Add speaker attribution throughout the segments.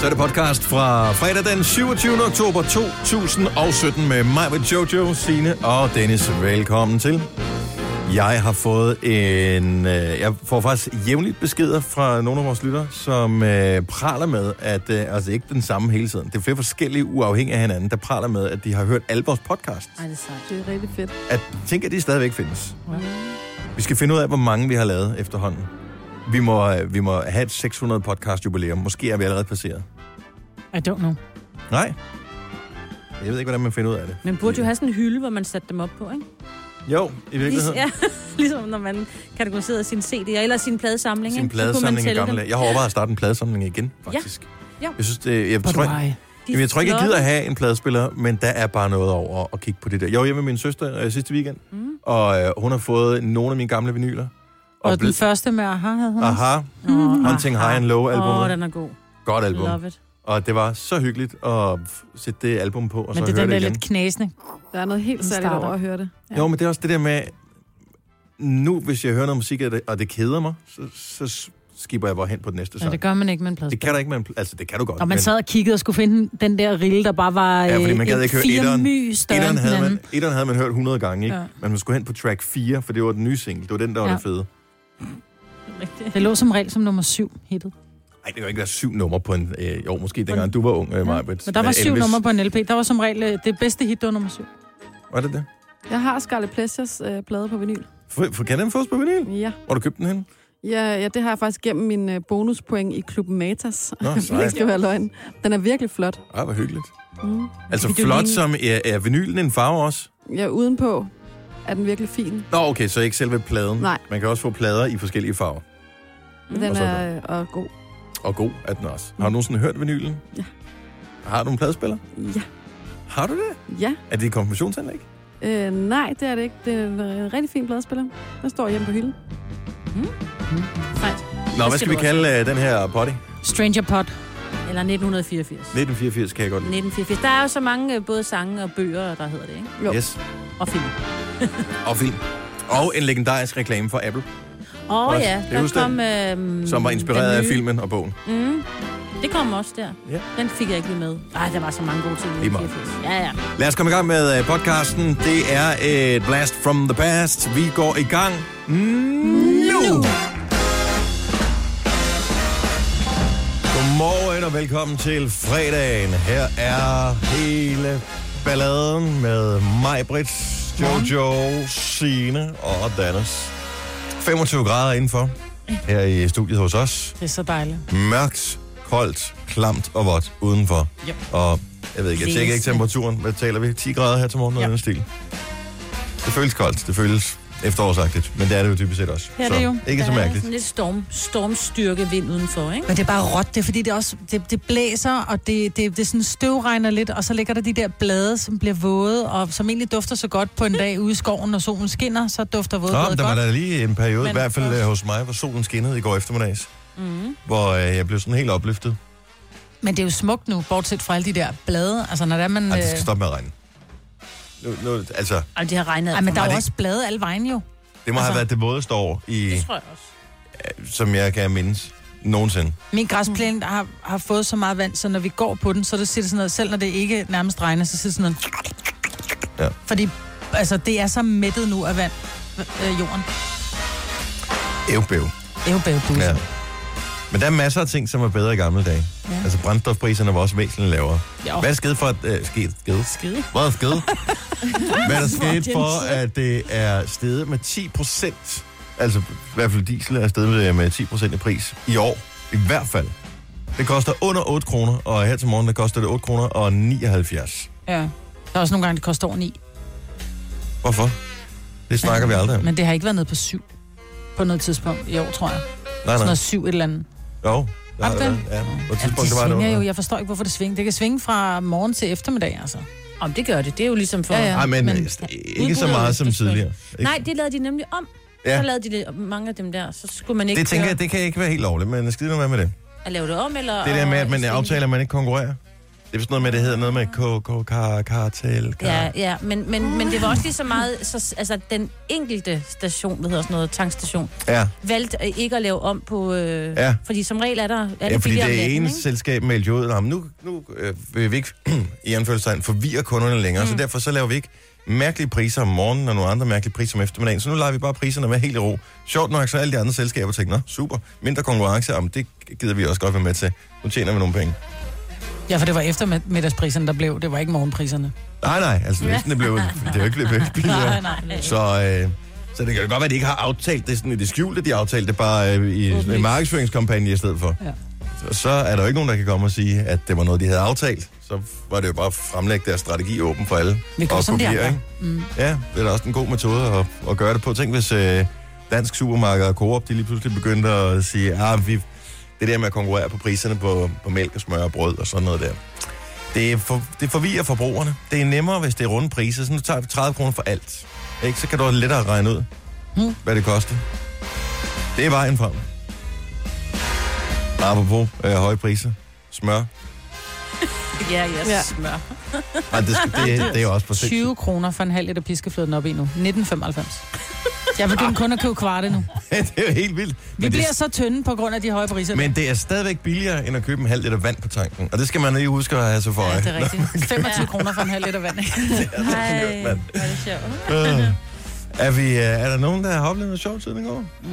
Speaker 1: Så er det podcast fra fredag den 27. oktober 2017 med mig, med Jojo, Sine og Dennis. Velkommen til. Jeg har fået en... Øh, jeg får faktisk jævnligt beskeder fra nogle af vores lytter, som øh, praler med, at... Øh, altså ikke den samme hele tiden. Det er flere forskellige, uafhængige af hinanden, der praler med, at de har hørt alle vores podcast.
Speaker 2: Ej, det er sejt. Det er rigtig fedt. Mm.
Speaker 1: At tænke, at de stadigvæk findes. Vi skal finde ud af, hvor mange vi har lavet efterhånden. Vi må, øh, vi må have et 600 podcast jubilæum. Måske er vi allerede passeret.
Speaker 3: I don't know.
Speaker 1: Nej. Jeg ved ikke, hvordan man finder ud af det.
Speaker 2: Man burde jo have sådan en hylde, hvor man satte dem op på, ikke?
Speaker 1: Jo, i virkeligheden.
Speaker 2: Liges, ja, ligesom når man kategoriserede sin CD eller sin pladesamling.
Speaker 1: Sin
Speaker 2: ikke? Så kunne man
Speaker 1: pladesamling i
Speaker 2: tælle
Speaker 1: gamle
Speaker 2: dem.
Speaker 1: dage. Jeg har overvejet at starte en pladesamling igen, faktisk.
Speaker 2: Ja. Ja.
Speaker 1: Jeg synes, det, jeg,
Speaker 3: But
Speaker 1: tror,
Speaker 3: why?
Speaker 1: jeg,
Speaker 2: De
Speaker 1: jamen, jeg tror ikke, jeg gider
Speaker 2: flotte-
Speaker 1: have en pladespiller, men der er bare noget over at kigge på det der. Jeg var hjemme med min søster øh, sidste weekend, mm. og øh, hun har fået nogle af mine gamle vinyler.
Speaker 3: Og,
Speaker 1: ble-
Speaker 3: den første med Aha havde hun også.
Speaker 1: Aha,
Speaker 3: Nå,
Speaker 1: Hunting
Speaker 3: Aha.
Speaker 1: High and Low
Speaker 2: Åh,
Speaker 1: albumet.
Speaker 2: oh,
Speaker 1: Oh,
Speaker 2: den er god.
Speaker 1: Godt album.
Speaker 2: Love it.
Speaker 1: Og det var så hyggeligt at f- sætte det album på, og
Speaker 3: Men
Speaker 1: så
Speaker 3: det er
Speaker 1: høre
Speaker 3: den der
Speaker 1: det igen.
Speaker 3: lidt knæsende.
Speaker 4: Der er noget helt
Speaker 3: Den
Speaker 4: særligt
Speaker 3: starter.
Speaker 4: over at høre det.
Speaker 3: Ja.
Speaker 1: Jo, men det er også det der med, nu hvis jeg hører noget musik, og det, og det keder mig, så, så s- skipper jeg bare hen på den næste
Speaker 3: Ja,
Speaker 1: sang.
Speaker 3: det gør man ikke med en
Speaker 1: Det
Speaker 3: pladespiller.
Speaker 1: kan du ikke med en pl- Altså, det kan du godt.
Speaker 3: Og man sad og kiggede og skulle finde den der rille, der bare var
Speaker 1: Ja, fordi man
Speaker 3: øh,
Speaker 1: gad
Speaker 3: et
Speaker 1: ikke høre
Speaker 3: fire
Speaker 1: etteren.
Speaker 3: my større
Speaker 1: Etteren
Speaker 3: end den
Speaker 1: havde,
Speaker 3: anden.
Speaker 1: man, etteren havde man hørt 100 gange, ikke? Ja.
Speaker 3: Ja.
Speaker 1: Men man skulle hen på track 4, for det var den nye single. Det var den, der var ja.
Speaker 3: Ja.
Speaker 1: den fede.
Speaker 2: Rigtigt.
Speaker 3: Det lå som regel som nummer syv hittet.
Speaker 1: Ej, det kan jo ikke være syv numre på en... Øh, jo, måske dengang du var ung, øh, Maja.
Speaker 3: Men der var syv numre på en LP. Der var som regel øh, det bedste hit, det var nummer syv.
Speaker 1: Var det det?
Speaker 4: Jeg har Scarlet Pleasures øh, plade på vinyl.
Speaker 1: For, for, kan den fås på vinyl?
Speaker 4: Ja.
Speaker 1: Hvor har du købt den hen?
Speaker 4: Ja, ja, det har jeg faktisk gennem min øh, bonuspoint i Klub Matas.
Speaker 1: Nå,
Speaker 4: det
Speaker 1: sejt.
Speaker 4: skal være løgn. Den er virkelig flot.
Speaker 1: Ej, hvor hyggeligt.
Speaker 4: Mm.
Speaker 1: Altså
Speaker 3: Fordi du
Speaker 1: flot
Speaker 3: lige-
Speaker 1: som... Er, er vinylen en farve også?
Speaker 4: Ja, udenpå er den virkelig fin.
Speaker 1: Nå, okay, så ikke selve pladen.
Speaker 4: Nej.
Speaker 1: Man kan også få plader i forskellige farver.
Speaker 4: Men Den
Speaker 1: Mm. Og så
Speaker 4: er øh, og god.
Speaker 1: Og god er den også. Har du nogensinde hørt vinylen?
Speaker 4: Ja.
Speaker 1: Har du en pladespiller?
Speaker 4: Ja.
Speaker 1: Har du det?
Speaker 4: Ja.
Speaker 1: Er det et konfirmationsanlæg?
Speaker 4: Øh, nej, det er det ikke. Det er en øh, rigtig fin pladespiller. Den står hjemme på hylden.
Speaker 2: Fejt.
Speaker 1: Nå,
Speaker 2: Det
Speaker 1: hvad
Speaker 2: skal
Speaker 1: skal vi
Speaker 2: du også.
Speaker 1: kalde øh, den her potty?
Speaker 3: Stranger Pot.
Speaker 2: Eller 1984.
Speaker 1: 1984 kan jeg godt lide.
Speaker 2: 1984. Der er jo så mange øh, både sange og bøger, der hedder det, ikke?
Speaker 4: Jo.
Speaker 1: Yes.
Speaker 2: Og film.
Speaker 1: Og film. Og en legendarisk reklame for Apple,
Speaker 2: Åh oh,
Speaker 1: Også.
Speaker 2: ja,
Speaker 1: Det er
Speaker 2: der
Speaker 1: husk den,
Speaker 2: kom... Øh,
Speaker 1: som var inspireret af filmen og bogen.
Speaker 2: Mm, det kom også der.
Speaker 1: Ja.
Speaker 2: Den fik jeg ikke lige med. Ej, der var så mange gode ting. i
Speaker 1: Lige meget.
Speaker 2: 1984. Ja, ja.
Speaker 1: Lad os komme i gang med øh, podcasten. Det er øh, et blast from the past. Vi går i gang nu. Godmorgen og velkommen til fredagen. Her er hele balladen med mig, Brits, Jojo, Sine og Dennis. 25 grader indenfor her i studiet hos os.
Speaker 3: Det er så dejligt.
Speaker 1: mørkt, koldt, klamt og vådt udenfor.
Speaker 3: Yep.
Speaker 1: Og jeg ved ikke, jeg tjekker ikke
Speaker 2: Blæsende.
Speaker 1: temperaturen. Hvad taler vi? 10 grader her til morgen, noget
Speaker 3: Ja.
Speaker 1: yep. stil. Det føles koldt, det føles efterårsagtigt, men det er det jo typisk set også.
Speaker 3: Ja,
Speaker 1: så,
Speaker 3: det er jo.
Speaker 1: Ikke så
Speaker 2: Der er
Speaker 1: mærkeligt.
Speaker 2: Sådan lidt storm, stormstyrke vind udenfor, ikke?
Speaker 3: Men det er bare råt, det er fordi, det, også, det, det blæser, og det, det, det sådan støvregner lidt, og så ligger der de der blade, som bliver våde, og som egentlig dufter så godt på en dag ude i skoven, når solen skinner, så dufter våde
Speaker 1: Nå,
Speaker 3: blade
Speaker 1: men der var
Speaker 3: godt.
Speaker 1: der lige en periode, i
Speaker 3: Men-
Speaker 1: hvert fald øh, hos mig, hvor solen skinnede i går eftermiddags,
Speaker 3: Mhm.
Speaker 2: Mm.
Speaker 1: hvor øh, jeg blev sådan helt opløftet.
Speaker 3: Men det er jo smukt nu, bortset fra alle de der blade. Altså, når der er man...
Speaker 1: Ej,
Speaker 3: Øh...
Speaker 1: det skal stoppe med at regne. Nu, nu, altså,
Speaker 2: Og det har regnet.
Speaker 3: Ej, men
Speaker 1: Var
Speaker 3: der er
Speaker 1: det
Speaker 3: jo også blade alle vejen jo.
Speaker 1: det må altså, have
Speaker 3: Altså-
Speaker 1: været det vådeste år, i,
Speaker 2: Det tror jeg også.
Speaker 1: som jeg kan mindes nogensinde.
Speaker 3: Min græsplæne der har, har fået så meget vand, så når vi går på den, så det siger det sådan noget, selv når det ikke nærmest regner, så siger det sådan noget.
Speaker 1: Ja.
Speaker 3: Ja. Fordi altså, det er så mættet nu af vand, øh, jorden.
Speaker 1: Ævbæv.
Speaker 3: Ævbævbus.
Speaker 1: Ja.
Speaker 3: Ja.
Speaker 1: Men der er masser af ting, som er bedre i gamle dage. Ja.
Speaker 3: Ja.
Speaker 1: Altså brændstofpriserne var også væsentligt lavere.
Speaker 3: Jo.
Speaker 1: Hvad er der sket for, at... Øh, sket, skede?
Speaker 2: Skide.
Speaker 1: Hvad er der sket? Hvad er der sket
Speaker 2: Fucking
Speaker 1: for, at det er steget med 10 procent? Altså i hvert fald diesel er steget med, med 10 procent i pris i år. I hvert fald. Det koster under 8 kroner, og her til morgen, der koster det 8 kroner og 79.
Speaker 3: ja. Der er også nogle gange, det koster over 9.
Speaker 1: Hvorfor? Det snakker vi aldrig om.
Speaker 3: Men det har ikke været nede på 7 på noget tidspunkt i år, tror jeg.
Speaker 1: Nej,
Speaker 3: Sådan
Speaker 1: nej.
Speaker 3: noget 7 et eller andet.
Speaker 1: Jo. Der,
Speaker 3: Har du
Speaker 1: der,
Speaker 3: den?
Speaker 1: ja, på et tidspunkt,
Speaker 3: Ja, det
Speaker 1: der var det
Speaker 3: svinger jo.
Speaker 1: under.
Speaker 3: Jeg forstår ikke, hvorfor det svinger. Det kan svinge fra morgen til eftermiddag, altså.
Speaker 2: Om det gør det. Det er jo ligesom for...
Speaker 3: Ja, ja.
Speaker 1: Nej, men,
Speaker 3: Men-
Speaker 1: men ikke så
Speaker 2: Udbud og
Speaker 1: meget som
Speaker 2: efterspørgsel.
Speaker 1: tidligere. Ikke?
Speaker 2: Nej, det lavede de nemlig om.
Speaker 1: Ja.
Speaker 2: Ja. Så lavede de det, mange af dem der. Så skulle man ikke
Speaker 1: Det tænker
Speaker 2: køre-
Speaker 1: jeg, det kan ikke være helt lovligt, men skide nu være med det.
Speaker 2: at lave det om, eller...
Speaker 1: Det der med, at man
Speaker 2: og-
Speaker 1: aftaler, at man ikke konkurrerer. Det er vist noget med, det hedder noget med k k k kartel k
Speaker 2: Ja, ja, men, men, men det var også lige så meget, så, altså den enkelte station, hvad hedder sådan noget, tankstation,
Speaker 1: ja.
Speaker 2: valgte øh, ikke at lave om på... Øh,
Speaker 1: Ja.
Speaker 2: Fordi som regel er der... Er
Speaker 1: Ja, fordi
Speaker 2: billigere om
Speaker 1: det
Speaker 2: natten,
Speaker 1: ene
Speaker 2: ikke?
Speaker 1: selskab meldte jo ud, om nu, nu øh, vil vi ikke i anførselstegn forvirre kunderne længere, mm. så derfor så laver vi ikke mærkelige priser om morgenen, og nogle andre mærkelige priser om eftermiddagen. Så nu lader vi bare priserne være helt i ro. Sjovt nok, så alle de andre selskaber tænker, nå, super, mindre konkurrence, om det gider vi også godt være med til. Nu tjener vi nogle penge.
Speaker 3: Ja, for det var eftermiddagspriserne, der blev. Det var ikke morgenpriserne.
Speaker 1: Nej, nej, altså det, er sådan, det, blev, det er jo ikke blevet billigere.
Speaker 3: nej.
Speaker 1: Så, øh, så det kan jo godt være, at de ikke har aftalt det sådan i det skjulte, de aftalte det bare øh, i sådan en markedsføringskampagne i stedet for.
Speaker 3: Ja.
Speaker 1: Så, så er der jo ikke nogen, der kan komme og sige, at det var noget, de havde aftalt. Så var det jo bare at fremlægge deres strategi åben for alle.
Speaker 3: Vi går
Speaker 1: og
Speaker 3: som de
Speaker 1: kopiere,
Speaker 3: andre.
Speaker 1: ikke?
Speaker 3: Mm.
Speaker 1: Ja, det er da også en god metode at, at gøre det på. Tænk, hvis øh, Dansk Supermarked og Coop, de lige pludselig begyndte at sige, ah, vi, det der med at konkurrere på priserne på, på mælk og smør og brød og sådan noget der. Det, er for, det forvirrer forbrugerne. Det er nemmere, hvis det er runde priser. Så nu tager vi 30 kroner for alt. Ikke? Så kan du lettere regne ud,
Speaker 3: Mm.
Speaker 1: hvad det koster. Det er vejen frem. Apropos øh, høje priser. Smør.
Speaker 2: Ja, yes.
Speaker 4: Ja.
Speaker 2: ja. smør.
Speaker 1: Ej, det, skal- det, det, er jo også på sigt.
Speaker 3: 20 kroner for en halv liter piskefløde den op i nu. 19,95. Jeg begynder kun at købe kvarte nu.
Speaker 1: det er jo helt vildt.
Speaker 3: Vi
Speaker 1: Men det-
Speaker 3: bliver så tynde på grund af de høje priser.
Speaker 1: Men det er stadigvæk billigere, end at købe en halv liter vand på tanken. Og det skal man lige huske at have så for
Speaker 3: ja,
Speaker 1: øje.
Speaker 3: det er rigtigt. 25 kroner for en halv liter vand.
Speaker 2: Ej,
Speaker 1: skørt, mand.
Speaker 2: hvor er det sjovt.
Speaker 1: Øh, er, vi, øh, er der nogen, der har oplevet noget sjovt siden i går?
Speaker 3: Nej,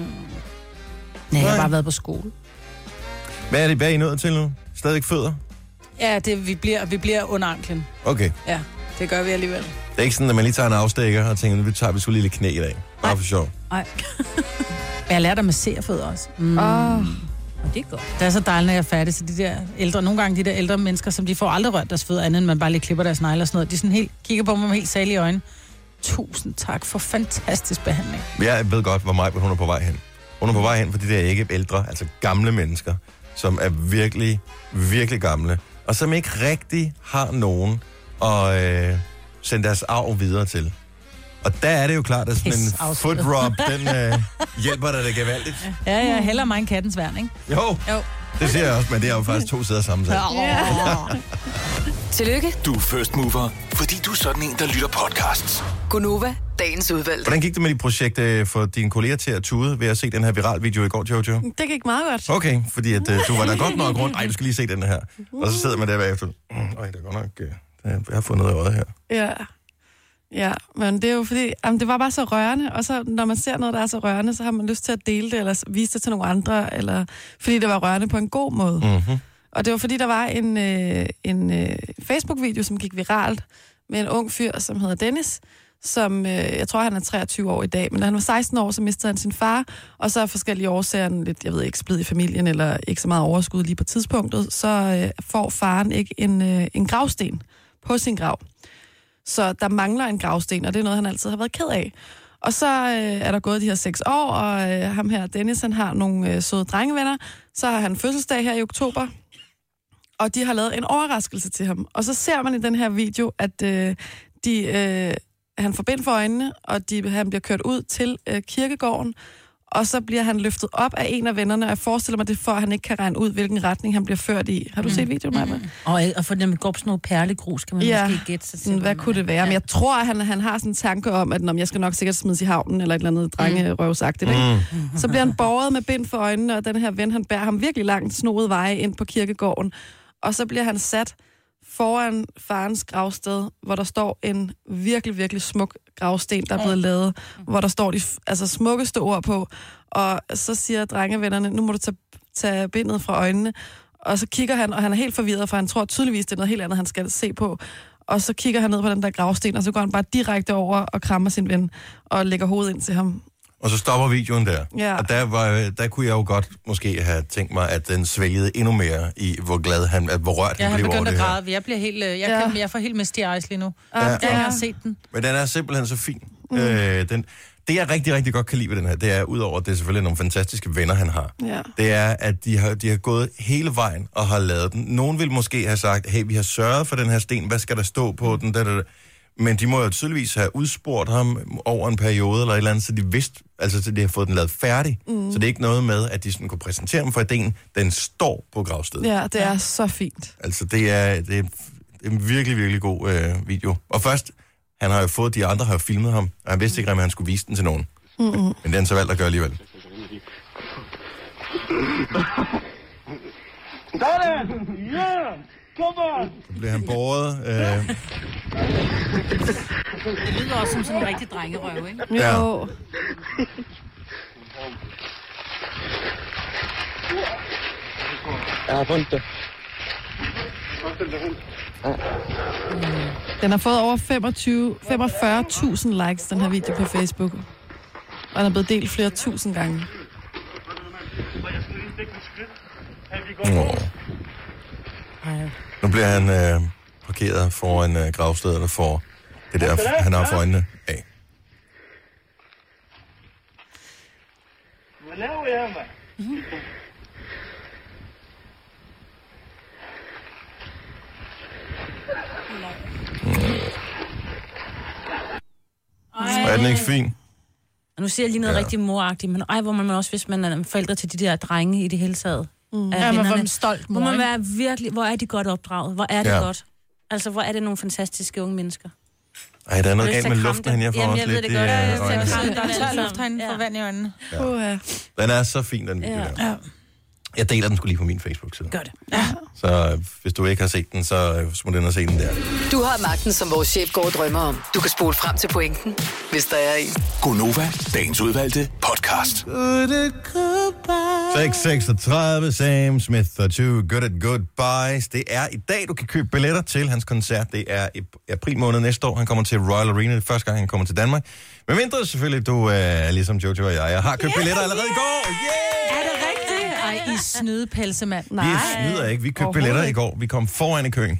Speaker 3: jeg
Speaker 1: Nej.
Speaker 3: har bare været på skole.
Speaker 1: Hvad er det, hvad er I nået til nu? Stadig fødder?
Speaker 3: Ja, det, vi, bliver, vi bliver under anklen.
Speaker 1: Okay.
Speaker 3: Ja, det gør vi alligevel.
Speaker 1: Det er ikke sådan, at man lige tager en afstikker og tænker, nu tager vi sgu lige lidt knæ i dag. Bare for sjov.
Speaker 3: Men jeg lærte at massere fødder også. Mm.
Speaker 4: Åh,
Speaker 2: Det er godt.
Speaker 3: Det er så dejligt, når jeg er færdig, så de der ældre, nogle gange de der ældre mennesker, som de får aldrig rørt deres fødder andet, end man bare lige klipper deres negle og sådan noget, de sådan helt, kigger på mig med helt salige øjne. Tusind tak for fantastisk behandling.
Speaker 1: Jeg ved godt, hvor meget hun er på vej hen. Hun er på vej hen for de der ikke ældre, altså gamle mennesker, som er virkelig, virkelig gamle, og som ikke rigtig har nogen at øh, sende deres arv videre til. Og der er det jo klart, at sådan
Speaker 3: Pis,
Speaker 1: en
Speaker 3: afsløret.
Speaker 1: foot rub, den øh, hjælper dig da gevaldigt.
Speaker 3: Ja, ja, heller mig en kattens værn, ikke?
Speaker 1: Jo,
Speaker 3: Jo.
Speaker 1: det ser jeg også, men det er jo faktisk to sider samme sag.
Speaker 5: Tillykke,
Speaker 6: Du er first mover, fordi du er sådan en, der lytter podcasts.
Speaker 5: Gunova, dagens udvalgte.
Speaker 1: Hvordan gik det med dit projekt øh, for dine kolleger til at tude ved at se den her viral video i går, Jojo?
Speaker 4: det gik meget godt.
Speaker 1: Okay, fordi at, øh, du var da godt nok rundt. Ej, du skal lige se den her. Og så sidder man der bagefter. Mm, Ej, det er godt nok... Øh, der- jeg har fået noget i øjet her.
Speaker 4: Ja. Ja, men det er jo fordi, jamen, det var bare så rørende, og så når man ser noget, der er så rørende, så har man lyst til at dele det, eller s- vise det til nogle andre, eller fordi det var rørende på en god måde.
Speaker 1: Mm-hmm.
Speaker 4: Og det var fordi, der var en, øh, en øh, Facebook-video, som gik viralt med en ung fyr, som hedder Dennis, som øh, jeg tror, han er 23 år i dag, men da han var 16 år, så mistede han sin far, og så af forskellige årsager, en lidt, jeg ved ikke, splid i familien, eller ikke så meget overskud lige på tidspunktet, så øh, får faren ikke en, øh, en gravsten på sin grav. Så der mangler en gravsten, og det er noget, han altid har været ked af. Og så øh, er der gået de her seks år, og øh, ham her, Dennis, han har nogle øh, søde drengevenner. Så har han fødselsdag her i oktober, og de har lavet en overraskelse til ham. Og så ser man i den her video, at øh, de, øh, han får bind for øjnene, og de, han bliver kørt ud til øh, kirkegården, og så bliver han løftet op af en af vennerne, og jeg forestiller mig det, er for at han ikke kan regne ud, hvilken retning han bliver ført i. Har du mm. set videoen, Maja? Mm.
Speaker 2: Og, øh, og for dem går på sådan noget perlegrus, kan man
Speaker 4: Ja.
Speaker 2: ja. måske gætte sig til.
Speaker 4: Sådan, hvad kunne det være? Men jeg tror, at han, han har sådan en tanke om, at "Nå, men jeg skal nok sikkert smides i havnen, eller et eller andet drengerøvsagtigt. Ikke?
Speaker 1: Mm.
Speaker 4: Så bliver han borget med bind for øjnene, og den her ven, han bærer ham virkelig langt snoet veje ind på kirkegården. Og så bliver han sat foran farens gravsted, hvor der står en virkelig, virkelig smuk gravsten, der er blevet lavet, hvor der står de f- altså, smukkeste ord på. Og så siger drengevennerne, nu må du tage, tage bindet fra øjnene. Og så kigger han, og han er helt forvirret, for han tror tydeligvis, det er noget helt andet, han skal se på. Og så kigger han ned på den der gravsten, og så går han bare direkte over og krammer sin ven og lægger hovedet ind til ham.
Speaker 1: Og så stopper videoen der.
Speaker 4: Ja.
Speaker 1: Og der, var, øh, der kunne jeg jo godt måske have tænkt mig, at den svælgede endnu mere i, hvor glad han, at hvor rørt
Speaker 3: Jeg
Speaker 1: han
Speaker 3: har
Speaker 1: blev over
Speaker 3: begyndt
Speaker 1: det
Speaker 3: at
Speaker 1: her.
Speaker 3: græde. Jeg bliver helt, øh, jeg,
Speaker 4: Ja.
Speaker 3: kan, jeg får helt misty eyes lige nu.
Speaker 4: Og
Speaker 1: Ja.
Speaker 3: Jeg har set den.
Speaker 1: Men den er simpelthen så fin. Mm. Øh, den, det, jeg rigtig, rigtig godt kan lide ved den her, det er, udover at det er selvfølgelig nogle fantastiske venner, han har.
Speaker 4: Ja.
Speaker 1: det er, at de har, de har gået hele vejen og har lavet den. Nogen vil måske have sagt, hey, vi har sørget for den her sten, hvad skal der stå på den? Da, da, da. Men de må jo tydeligvis have udspurgt ham over en periode eller et eller andet, så de vidste, altså så de har fået den lavet færdig. Mm. Så det er ikke noget med, at de sådan kunne præsentere ham for ideen. Den står på gravstedet.
Speaker 4: Ja, det er så fint.
Speaker 1: Altså det er, det er Det er en virkelig, virkelig god øh, video. Og først, han har jo fået, de andre har jo filmet ham, og han vidste ikke, om han skulle vise den til nogen. Mm-hmm. Men den har han så valgt at gøre alligevel.
Speaker 7: Sådan! Ja! Kom on!
Speaker 1: Så bliver han båret. Øh,
Speaker 2: Det lyder også som sådan en rigtig drengerøv, ikke?
Speaker 1: Ja.
Speaker 4: Jo.
Speaker 7: Jeg har fundet det.
Speaker 4: Den har fået over 25 45.000 likes, den her video på Facebook. Og den er blevet delt flere tusind gange.
Speaker 1: åh. Nu bliver han øh, parkeret foran øh, gravstedet og får det der, han har for øjnene af.
Speaker 7: Hvad laver jeg, mand?
Speaker 1: Og er den ikke fin?
Speaker 2: Og nu siger jeg lige noget ja. rigtig moragtigt, men ej, hvor man også, hvis man er forældre til de der drenge i det hele taget. Mm.
Speaker 3: Ja, men hvor er man stolt mor,
Speaker 2: hvor man
Speaker 3: ikke?
Speaker 2: være virkelig, hvor er de godt opdraget, hvor er det
Speaker 1: Ja.
Speaker 2: ja. godt. Altså, hvor er det nogle fantastiske unge mennesker.
Speaker 1: Ej, der er noget
Speaker 2: Jeg har
Speaker 1: galt med
Speaker 2: lyst til at kramme
Speaker 1: luften
Speaker 2: dem.
Speaker 1: herinde. Jeg får
Speaker 2: Jamen,
Speaker 1: også
Speaker 2: jeg ved
Speaker 1: lidt
Speaker 2: det
Speaker 1: i
Speaker 2: godt. Ja,
Speaker 1: øh,
Speaker 2: jeg
Speaker 1: øjnene.
Speaker 2: ser-
Speaker 3: Der er tør luft herinde for
Speaker 2: Ja.
Speaker 3: vand i øjnene.
Speaker 4: Ja. Uha.
Speaker 1: Den er så fin, den video
Speaker 2: Ja.
Speaker 1: der. Jeg deler den skulle lige på min Facebook-side.
Speaker 3: Gør det.
Speaker 1: Så øh, hvis du ikke har set den, så, øh, så må du ind og se den der.
Speaker 5: Du har magten, som vores chef går og drømmer om. Du kan spole frem til pointen, hvis der er en.
Speaker 6: Gonova, dagens udvalgte podcast.
Speaker 1: 6.36, Sam Smith og Two Good at Goodbyes. Det er i dag, du kan købe billetter til hans koncert. Det er i april måned næste år. Han kommer til Royal Arena. Det er første gang, han kommer til Danmark. Men mindre selvfølgelig, du er øh, ligesom Jojo og jeg. Jeg har købt billetter allerede i går. Yeah!
Speaker 3: Er det rigtigt? Ej, I snyde pelsemand.
Speaker 1: Vi
Speaker 4: Nej.
Speaker 1: snyder ikke. Vi købte
Speaker 4: Overhovedet
Speaker 1: billetter i
Speaker 4: ikke.
Speaker 1: går. Vi kom foran i køen.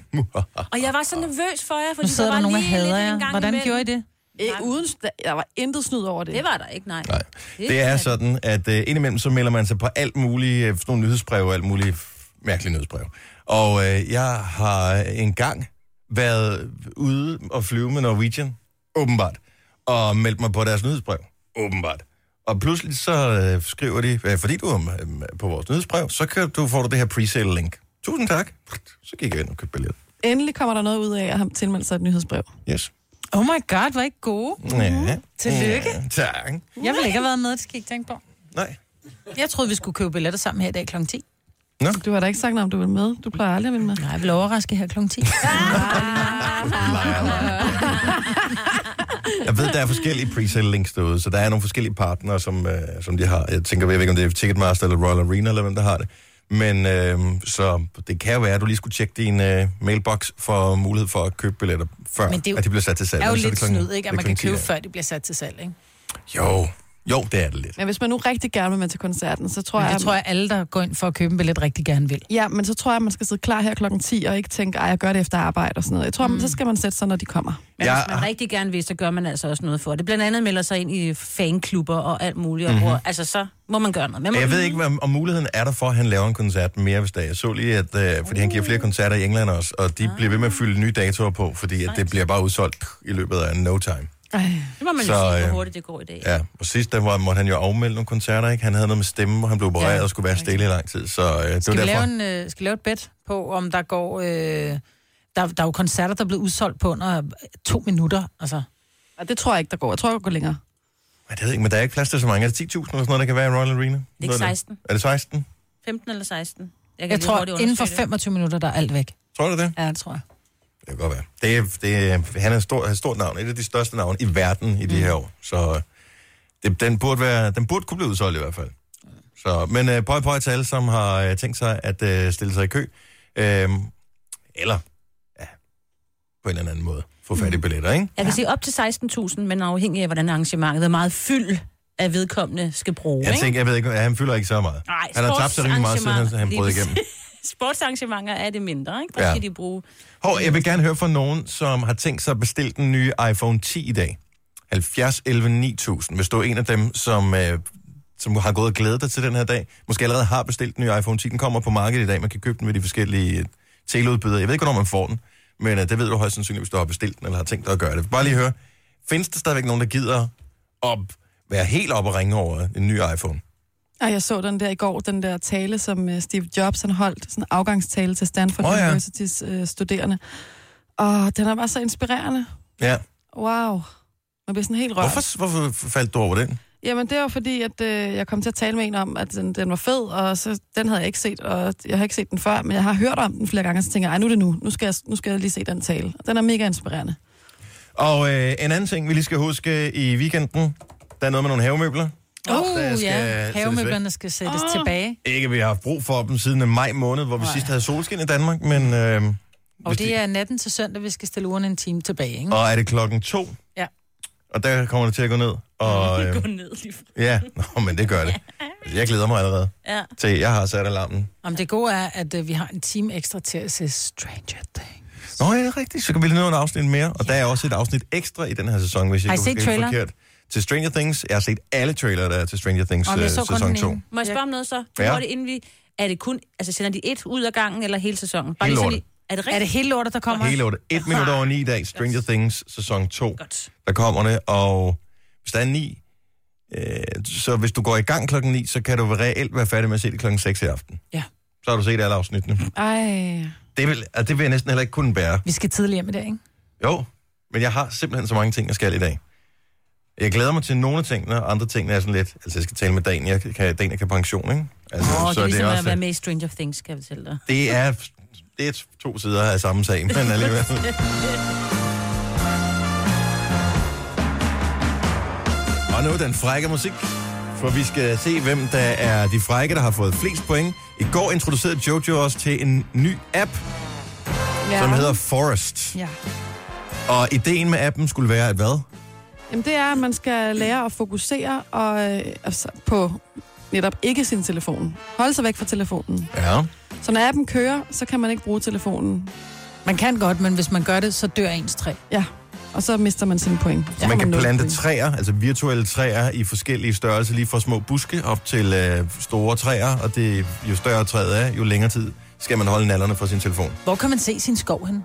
Speaker 2: Og jeg var så nervøs for jer, fordi
Speaker 3: Nu sidder
Speaker 2: der
Speaker 3: der
Speaker 2: var
Speaker 3: nogen og
Speaker 2: lige
Speaker 3: hader
Speaker 2: lidt en
Speaker 3: jer.
Speaker 2: gang
Speaker 3: Hvordan
Speaker 2: imellem.
Speaker 3: gjorde I det?
Speaker 4: Ikke uden, der var intet snyd over det.
Speaker 2: Det var der ikke, nej.
Speaker 1: Nej. Det er sådan, at øh, indimellem så melder man sig på alt muligt, øh, sådan nogle nyhedsbreve og alt muligt f- mærkelige nyhedsbreve. Og øh, jeg har engang været ude og flyve med Norwegian, åbenbart, og meldt mig på deres nyhedsbrev, åbenbart. Og pludselig så øh, skriver de, øh, fordi du er øh, på vores nyhedsbrev, så kan du, får du det her presale link. Tusind tak. Så gik jeg ind og købte billedet.
Speaker 4: Endelig kommer der noget ud af at ham tilmelde sig et nyhedsbrev.
Speaker 1: Yes.
Speaker 3: Oh my god, var I ikke gode?
Speaker 1: Ja.
Speaker 3: Tillykke.
Speaker 1: Ja, tak.
Speaker 3: Jeg ville ikke have været med, det skal I ikke tænke på.
Speaker 1: Nej.
Speaker 3: Jeg troede, vi skulle købe billetter sammen her i dag kl. 10.
Speaker 4: Du har da ikke sagt noget om, du vil med. Du plejer aldrig at ville med.
Speaker 3: Nej, jeg vil overraske her kl. 10.
Speaker 1: Jeg ved, der er forskellige presale links derude, så der er nogle forskellige partnere, som, øh, som de har. Jeg tænker, jeg ved ikke, om det er Ticketmaster eller Royal Arena, eller hvem der har det. Men øh, så det kan jo være, at du lige skulle tjekke din øh, mailbox for mulighed for at købe billetter, før
Speaker 3: Men det er jo-
Speaker 1: at de bliver sat til salg.
Speaker 3: er jo
Speaker 1: Så det
Speaker 3: lidt
Speaker 1: klokken-
Speaker 3: snyd, ikke? At
Speaker 1: det er
Speaker 3: man kan købe
Speaker 1: klokken
Speaker 3: før de bliver sat til salg, ikke?
Speaker 1: 10 af. Jo. jo, det er det lidt.
Speaker 4: Men hvis man nu rigtig gerne vil med til koncerten, så tror
Speaker 3: Men
Speaker 4: jeg...
Speaker 3: det tror jeg, alle, der går ind for at købe en billet, rigtig gerne vil.
Speaker 4: Ja, men så tror jeg, at man skal sidde klar her klokken 10 og ikke tænke, ej, jeg gør det efter arbejde og sådan noget. Jeg tror, mm. så skal man sætte sig, når de kommer.
Speaker 2: Men ja. hvis man rigtig gerne vil, så gør man altså også noget for det. Blandt andet melder sig ind i fanklubber og alt muligt. Mm-hmm. Og, altså, så må man gøre noget.
Speaker 1: Men
Speaker 2: Men
Speaker 1: Mhm. Jeg
Speaker 2: man-
Speaker 1: ved ikke, om, om muligheden er der for, at han laver en koncert mere, hvis der er. Jeg så lige, at, øh, fordi han giver flere koncerter i England også, og de bliver ved med at fylde nye datoer på, fordi at det bliver bare udsolgt i løbet af no time.
Speaker 4: Ej.
Speaker 2: Det må man
Speaker 1: Så,
Speaker 2: jo se,
Speaker 1: øh,
Speaker 2: hvor hurtigt det går i dag.
Speaker 1: Ja, og sidst der var, måtte han jo afmelde nogle koncerter, ikke? Han havde noget med stemme, og han blev opereret ja,
Speaker 4: Ja,
Speaker 1: og skulle være stille i lang tid, så øh, det var
Speaker 3: Skal vi,
Speaker 1: derfor.
Speaker 3: lave en, øh, skal vi lave et bet på, om der går... Øh, der, der er jo koncerter, der er blevet udsolgt på under to minutter. Altså,
Speaker 4: Og det tror jeg ikke, der går. Jeg tror, der går længere.
Speaker 1: Men, det ved jeg ikke, men der er ikke plads til så mange. Er det 10.000 eller sådan noget, der kan være i Royal Arena?
Speaker 2: ikke
Speaker 1: Noget af
Speaker 2: 16.
Speaker 1: Er det 16?
Speaker 2: 15 eller 16. kan
Speaker 3: jeg
Speaker 2: lige
Speaker 3: tror,
Speaker 2: hurtigt
Speaker 3: inden for
Speaker 2: undersøge det.
Speaker 3: 25 minutter, der er alt væk.
Speaker 1: Tror du det?
Speaker 3: Ja, det tror jeg.
Speaker 1: Det kan godt være. Det er, det er, han er et stort, et stort navn. Et af de største navne i verden i de her år. Så øh, det, den, burde være, den burde kunne blive udsolgt i hvert fald. Så, men øh, pøj pøj til alle, som har øh, tænkt sig at øh, stille sig i kø. Øh, eller ja, på en eller anden måde få fat i billetter, ikke?
Speaker 2: Jeg kan sige op til 16.000, men afhængig af, hvordan arrangementet er meget fyld af vedkommende skal bruge.
Speaker 1: Jeg
Speaker 2: ikke?
Speaker 1: tænker, jeg ved ikke, han fylder ikke så meget.
Speaker 2: Nej,
Speaker 1: han har tabt sig rimelig meget, siden han, han brød
Speaker 2: sportsarrangementer.
Speaker 1: igennem.
Speaker 2: Sportsarrangementer er det mindre, ikke? Der
Speaker 1: Ja.
Speaker 2: ja. skal de bruge...
Speaker 1: Hov, jeg vil gerne høre fra nogen, som har tænkt sig at bestille den nye iPhone 10 i dag. 70 11 9000, hvis du er en af dem, som, øh, som har gået og glædet dig til den her dag. Måske allerede har bestilt den nye iPhone 10. Den kommer på markedet i dag. Man kan købe den ved de forskellige øh, teleudbydere. Jeg ved ikke, hvornår man får den, men øh, det ved du højst sandsynligt, hvis du har bestilt den eller har tænkt dig at gøre det. Bare lige høre, findes der stadigvæk nogen, der gider at være helt oppe og ringe over en ny iPhone?
Speaker 4: Ej, jeg så den der i går, den der tale, som øh, Steve Jobs han holdt, sådan en afgangstale til Stanford
Speaker 1: Åh,
Speaker 4: oh,
Speaker 1: ja.
Speaker 4: ja. Universitys øh, studerende. Og den er bare så inspirerende.
Speaker 1: Ja.
Speaker 4: Wow. Man bliver sådan helt rørt.
Speaker 1: Hvorfor, hvorfor faldt du over den?
Speaker 4: Jamen, det var fordi, at øh, jeg kom til at tale med en om, at den, den var fed, og så, den havde jeg ikke set, og jeg har ikke set den før, men jeg har hørt om den flere gange, og så tænker jeg, "Ej, nu er det nu. Nu skal, jeg, nu skal jeg lige se den tale. Og den er mega inspirerende.
Speaker 1: Og øh, en anden ting, vi lige skal huske i weekenden, der er noget med nogle havemøbler. Der
Speaker 3: Oh,
Speaker 1: skal
Speaker 3: ja.
Speaker 1: sættes væk.
Speaker 3: Havemøblerne skal sættes oh. tilbage.
Speaker 1: Ikke, vi har haft brug for dem siden øh, maj måned, hvor vi sidst havde solskin i Danmark, men... Øh, hvis
Speaker 3: Og det er natten til søndag, vi skal stille ugerne en time tilbage, ikke?
Speaker 1: Og er det klokken to?
Speaker 3: Ja.
Speaker 1: Og der kommer det til at gå ned. Og, øh,
Speaker 2: Gå ned lige for-
Speaker 1: ja, Nå, men det gør det. Altså, jeg glæder mig allerede
Speaker 2: Ja.
Speaker 1: til, jeg har sat alarmen.
Speaker 3: Om det gode er, at øh, vi har en time ekstra til at se Stranger Things.
Speaker 1: Nå, ja, det er rigtigt. Så kan vi lige nå et afsnit mere. Og der er også et afsnit ekstra i den her sæson, hvis jeg
Speaker 3: Har I
Speaker 1: ikke
Speaker 3: set
Speaker 1: husker helt
Speaker 3: traileren?
Speaker 1: forkert. Til Stranger Things. Jeg har set alle trailere, der er til Stranger Things
Speaker 3: Om
Speaker 1: øh,
Speaker 3: jeg så kun
Speaker 1: sæson
Speaker 3: den
Speaker 1: 2.
Speaker 3: ene.
Speaker 2: Må jeg spørge om noget så? Du
Speaker 1: Ja.
Speaker 2: ja. det inden vi... Er det kun... Altså, sender de et ud af gangen, eller hele sæsonen? Bare
Speaker 1: Hele
Speaker 2: sådan
Speaker 1: lortet.
Speaker 2: Er det rigtigt?
Speaker 3: Er det hele lortet, der kommer?
Speaker 1: Hele 8. Et minut over ni i dag. Stranger Things sæson 2.
Speaker 2: Godt.
Speaker 1: Der kommer det. Og hvis der er ni, øh, så hvis du går i gang klokken 9, så kan du reelt være færdig med at se det klokken 6 i aften.
Speaker 3: Ja.
Speaker 1: Så har du set alle afsnittene.
Speaker 2: Mm.
Speaker 4: Ej.
Speaker 1: Det vil, altså, det vil jeg næsten heller ikke kunne bære.
Speaker 3: Vi skal tidligere med det, ikke?
Speaker 1: Jo, men jeg har simpelthen så mange ting, jeg skal i dag. Jeg glæder mig til nogle af tingene, og andre ting er sådan lidt... Altså, jeg skal tale med Dan, jeg kan, Dan, jeg kan pension, ikke? Altså,
Speaker 2: Åh, oh, det er ligesom at
Speaker 1: også-
Speaker 2: være med i Stranger Things, skal jeg fortælle dig.
Speaker 1: det er, det er to sider af samme sag, men alligevel. Og nu den frække musik, for vi skal se, hvem der er de frække, der har fået flest point. I går introducerede Jojo os til en ny app, ja. som hedder Forest.
Speaker 4: Ja.
Speaker 1: Og ideen med appen skulle være, at hvad?
Speaker 4: Jamen, det er, at man skal lære at fokusere og, øh, altså, på netop ikke sin telefon. Holde sig væk fra telefonen.
Speaker 1: Ja.
Speaker 4: Så når appen kører, så kan man ikke bruge telefonen.
Speaker 3: Man kan godt, men hvis man gør det, så dør ens træ.
Speaker 4: Ja, og så mister man sine point. Så
Speaker 1: Så man
Speaker 4: får
Speaker 1: kan
Speaker 4: nul
Speaker 1: plante
Speaker 4: point.
Speaker 1: træer, altså virtuelle træer i forskellige størrelser, lige fra små buske op til øh, store træer, og det, jo større træet er, jo længere tid skal man holde nallerne fra sin telefon.
Speaker 3: Hvor kan man se sin skov hen? Nå,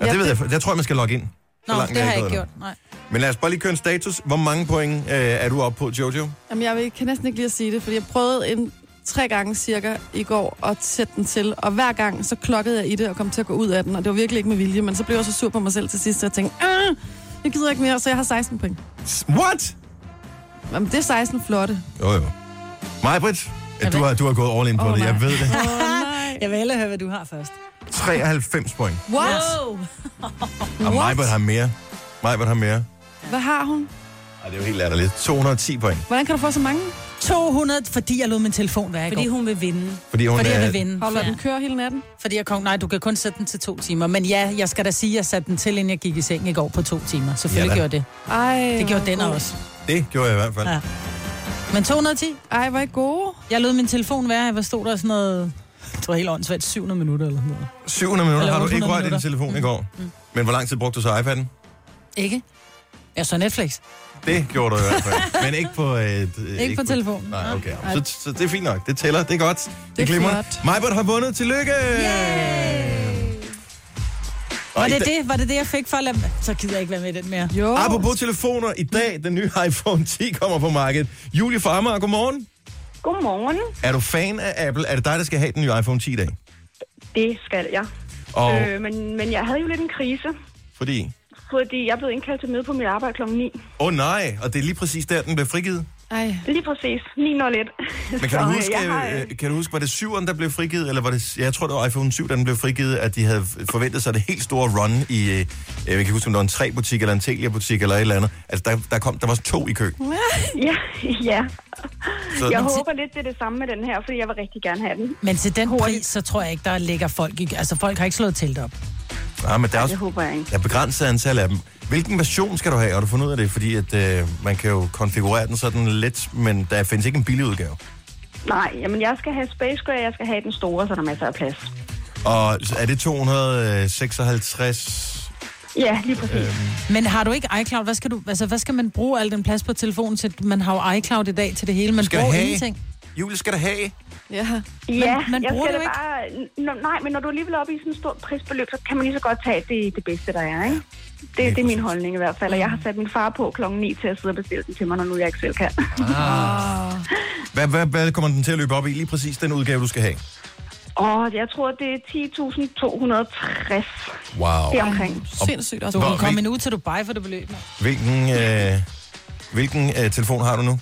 Speaker 1: Ja,
Speaker 4: Ja,
Speaker 1: det ved jeg, jeg tror, man skal logge ind. Så langt
Speaker 3: det har jeg
Speaker 1: gået
Speaker 3: ikke
Speaker 1: endnu.
Speaker 3: gjort. Nej.
Speaker 1: Men lad os bare lige køre en status. Hvor mange point øh, er du oppe på, Jojo?
Speaker 4: Jamen, jeg vil- kan næsten ikke lige at sige det, fordi jeg prøvede en tre gange cirka i går at sætte den til, og hver gang så klokkede jeg i det og kom til at gå ud af den, og det var virkelig ikke med vilje, men så blev jeg så sur på mig selv til sidst, og jeg tænkte, "Ah, jeg gider ikke mere, så jeg har 16 point.
Speaker 1: S- What?
Speaker 4: Jamen, det er 16 flotte.
Speaker 1: Jo, jo. Majbrit, du har, du har gået all in på
Speaker 4: Åh,
Speaker 1: det. Jeg
Speaker 4: nej.
Speaker 1: ved det.
Speaker 4: Åh, nej.
Speaker 3: Jeg vil hellere høre, hvad du har først.
Speaker 1: 93 point.
Speaker 4: What?
Speaker 2: Wow.
Speaker 1: Og Majbrit har mere. Majbrit har mere.
Speaker 4: Hvad har hun?
Speaker 1: Ej, det er jo helt latterligt. 210 point.
Speaker 4: Hvordan kan du få så mange?
Speaker 3: 200, fordi jeg lod min telefon være i
Speaker 2: Fordi
Speaker 3: går.
Speaker 2: hun vil vinde.
Speaker 1: Fordi hun
Speaker 3: Fordi
Speaker 1: er...
Speaker 3: jeg vil vinde.
Speaker 4: Holder
Speaker 3: Ja.
Speaker 4: den kører hele natten?
Speaker 3: Fordi jeg kom, nej, du kan kun sætte den til to timer. Men ja, jeg skal da sige, at jeg satte den til, inden jeg gik i seng i går på to timer. Selvfølgelig
Speaker 1: Ja da.
Speaker 3: gjorde det.
Speaker 4: Ej,
Speaker 3: Det gjorde
Speaker 4: hvor
Speaker 3: den
Speaker 4: god.
Speaker 3: også.
Speaker 1: Det gjorde jeg i hvert fald.
Speaker 3: Ja. Men 210,
Speaker 4: Ej, hvor er I gode.
Speaker 3: jeg lod min telefon være. Hvad stod der sådan noget... Det var helt åndssvagt, 700 minutter eller sådan noget.
Speaker 1: 700 minutter
Speaker 3: Eller
Speaker 1: har du
Speaker 3: 800
Speaker 1: ikke rørt i din
Speaker 3: minutter. Mm.
Speaker 1: telefon i går. Men hvor lang tid brugte du så iPad'en?
Speaker 3: Ikke? Jeg så Netflix.
Speaker 1: Det gjorde du i hvert fald. Men ikke på... Øh, ikke,
Speaker 3: på telefonen.
Speaker 1: Nej, okay.
Speaker 3: Nej.
Speaker 1: Så, så det er fint nok. Det tæller. Det er godt. Det,
Speaker 4: er
Speaker 1: det glimmer.
Speaker 4: flot.
Speaker 1: Majbert har vundet. Tillykke! Og
Speaker 3: Var
Speaker 1: i
Speaker 3: det
Speaker 1: dag-
Speaker 3: det, var det, det jeg fik for at lade... Så gider jeg ikke være med i den mere.
Speaker 4: Jo.
Speaker 1: Apropos telefoner, i dag, den nye iPhone 10 kommer på markedet. Julie fra Amager, godmorgen.
Speaker 8: Godmorgen.
Speaker 1: Er du fan af Apple? Er det dig, der skal have den nye iPhone 10 i dag?
Speaker 8: Det skal jeg.
Speaker 1: Og
Speaker 8: Oh. Øh, men, men jeg havde jo lidt en krise,
Speaker 1: fordi...
Speaker 8: fordi jeg blev indkaldt til møde på mit arbejde kl. 9.
Speaker 1: Åh oh, nej, og det er lige præcis der, den blev frigivet.
Speaker 4: Ej,
Speaker 8: Lige præcis. 9.01.
Speaker 1: Men kan,
Speaker 8: Så,
Speaker 1: du
Speaker 8: øh,
Speaker 1: huske,
Speaker 8: Jeg har, øh,
Speaker 1: øh, kan du huske, var det 7'eren, der blev frigivet, eller var det, jeg tror, det var iPhone 7, der den blev frigivet, at de havde forventet sig det helt store run i, øh, jeg kan ikke huske, om det var en 3-butik, eller en Telia-butik, eller et eller andet. Altså, der, der, kom, der var to i kø.
Speaker 8: ja, ja.
Speaker 1: Så,
Speaker 8: Jeg håber lidt, det er det samme med den her, fordi jeg vil rigtig gerne have den.
Speaker 3: Men til den
Speaker 8: Hurtigt.
Speaker 3: pris, så tror jeg ikke, der ligger folk i... Altså, folk har ikke slået telt op.
Speaker 1: ja, men der er
Speaker 8: Det
Speaker 1: også
Speaker 8: håber jeg ikke.
Speaker 1: der er begrænset antal af dem. Hvilken version skal du have? Har du fundet ud af det? Fordi at, øh, man kan jo konfigurere den sådan let, men der findes ikke en billig udgave.
Speaker 8: Nej, jamen jeg skal have Space Gray, jeg skal have den store, så der er masser af plads.
Speaker 1: Og så er det 256?
Speaker 8: Ja, lige præcis. Øh.
Speaker 3: Men har du ikke iCloud, hvad skal, du, altså, hvad skal man bruge al den plads på telefonen til? Man har jo iCloud i dag til det hele, man
Speaker 1: Skal
Speaker 3: bruger
Speaker 1: have?
Speaker 3: ingenting.
Speaker 1: Julie, skal der have?
Speaker 4: ja.
Speaker 8: Ja,
Speaker 3: man
Speaker 8: jeg
Speaker 3: bruger
Speaker 8: skal
Speaker 3: det
Speaker 8: da
Speaker 3: jo ikke.
Speaker 8: bare... N- nej, men når du alligevel er oppe i sådan et stort prisbeløb, så kan man lige så godt tage det, det bedste, der er, ikke? Det, det er min holdning i hvert fald, og jeg har sat min far på klokken 9 til at sidde og bestille den til mig, når nu jeg ikke selv kan.
Speaker 1: Hvad, hvad, hvad kommer den til at løbe op i? Lige præcis den udgave, du skal have.
Speaker 8: Åh, jeg tror, det er 10.260
Speaker 1: Wow.
Speaker 8: deromkring.
Speaker 4: Sindssygt også.
Speaker 3: Du
Speaker 1: Hvor-
Speaker 3: kan komme en uge til Dubai for det beløb. mand.
Speaker 1: Hvilken, øh, hvilken øh, telefon har du nu?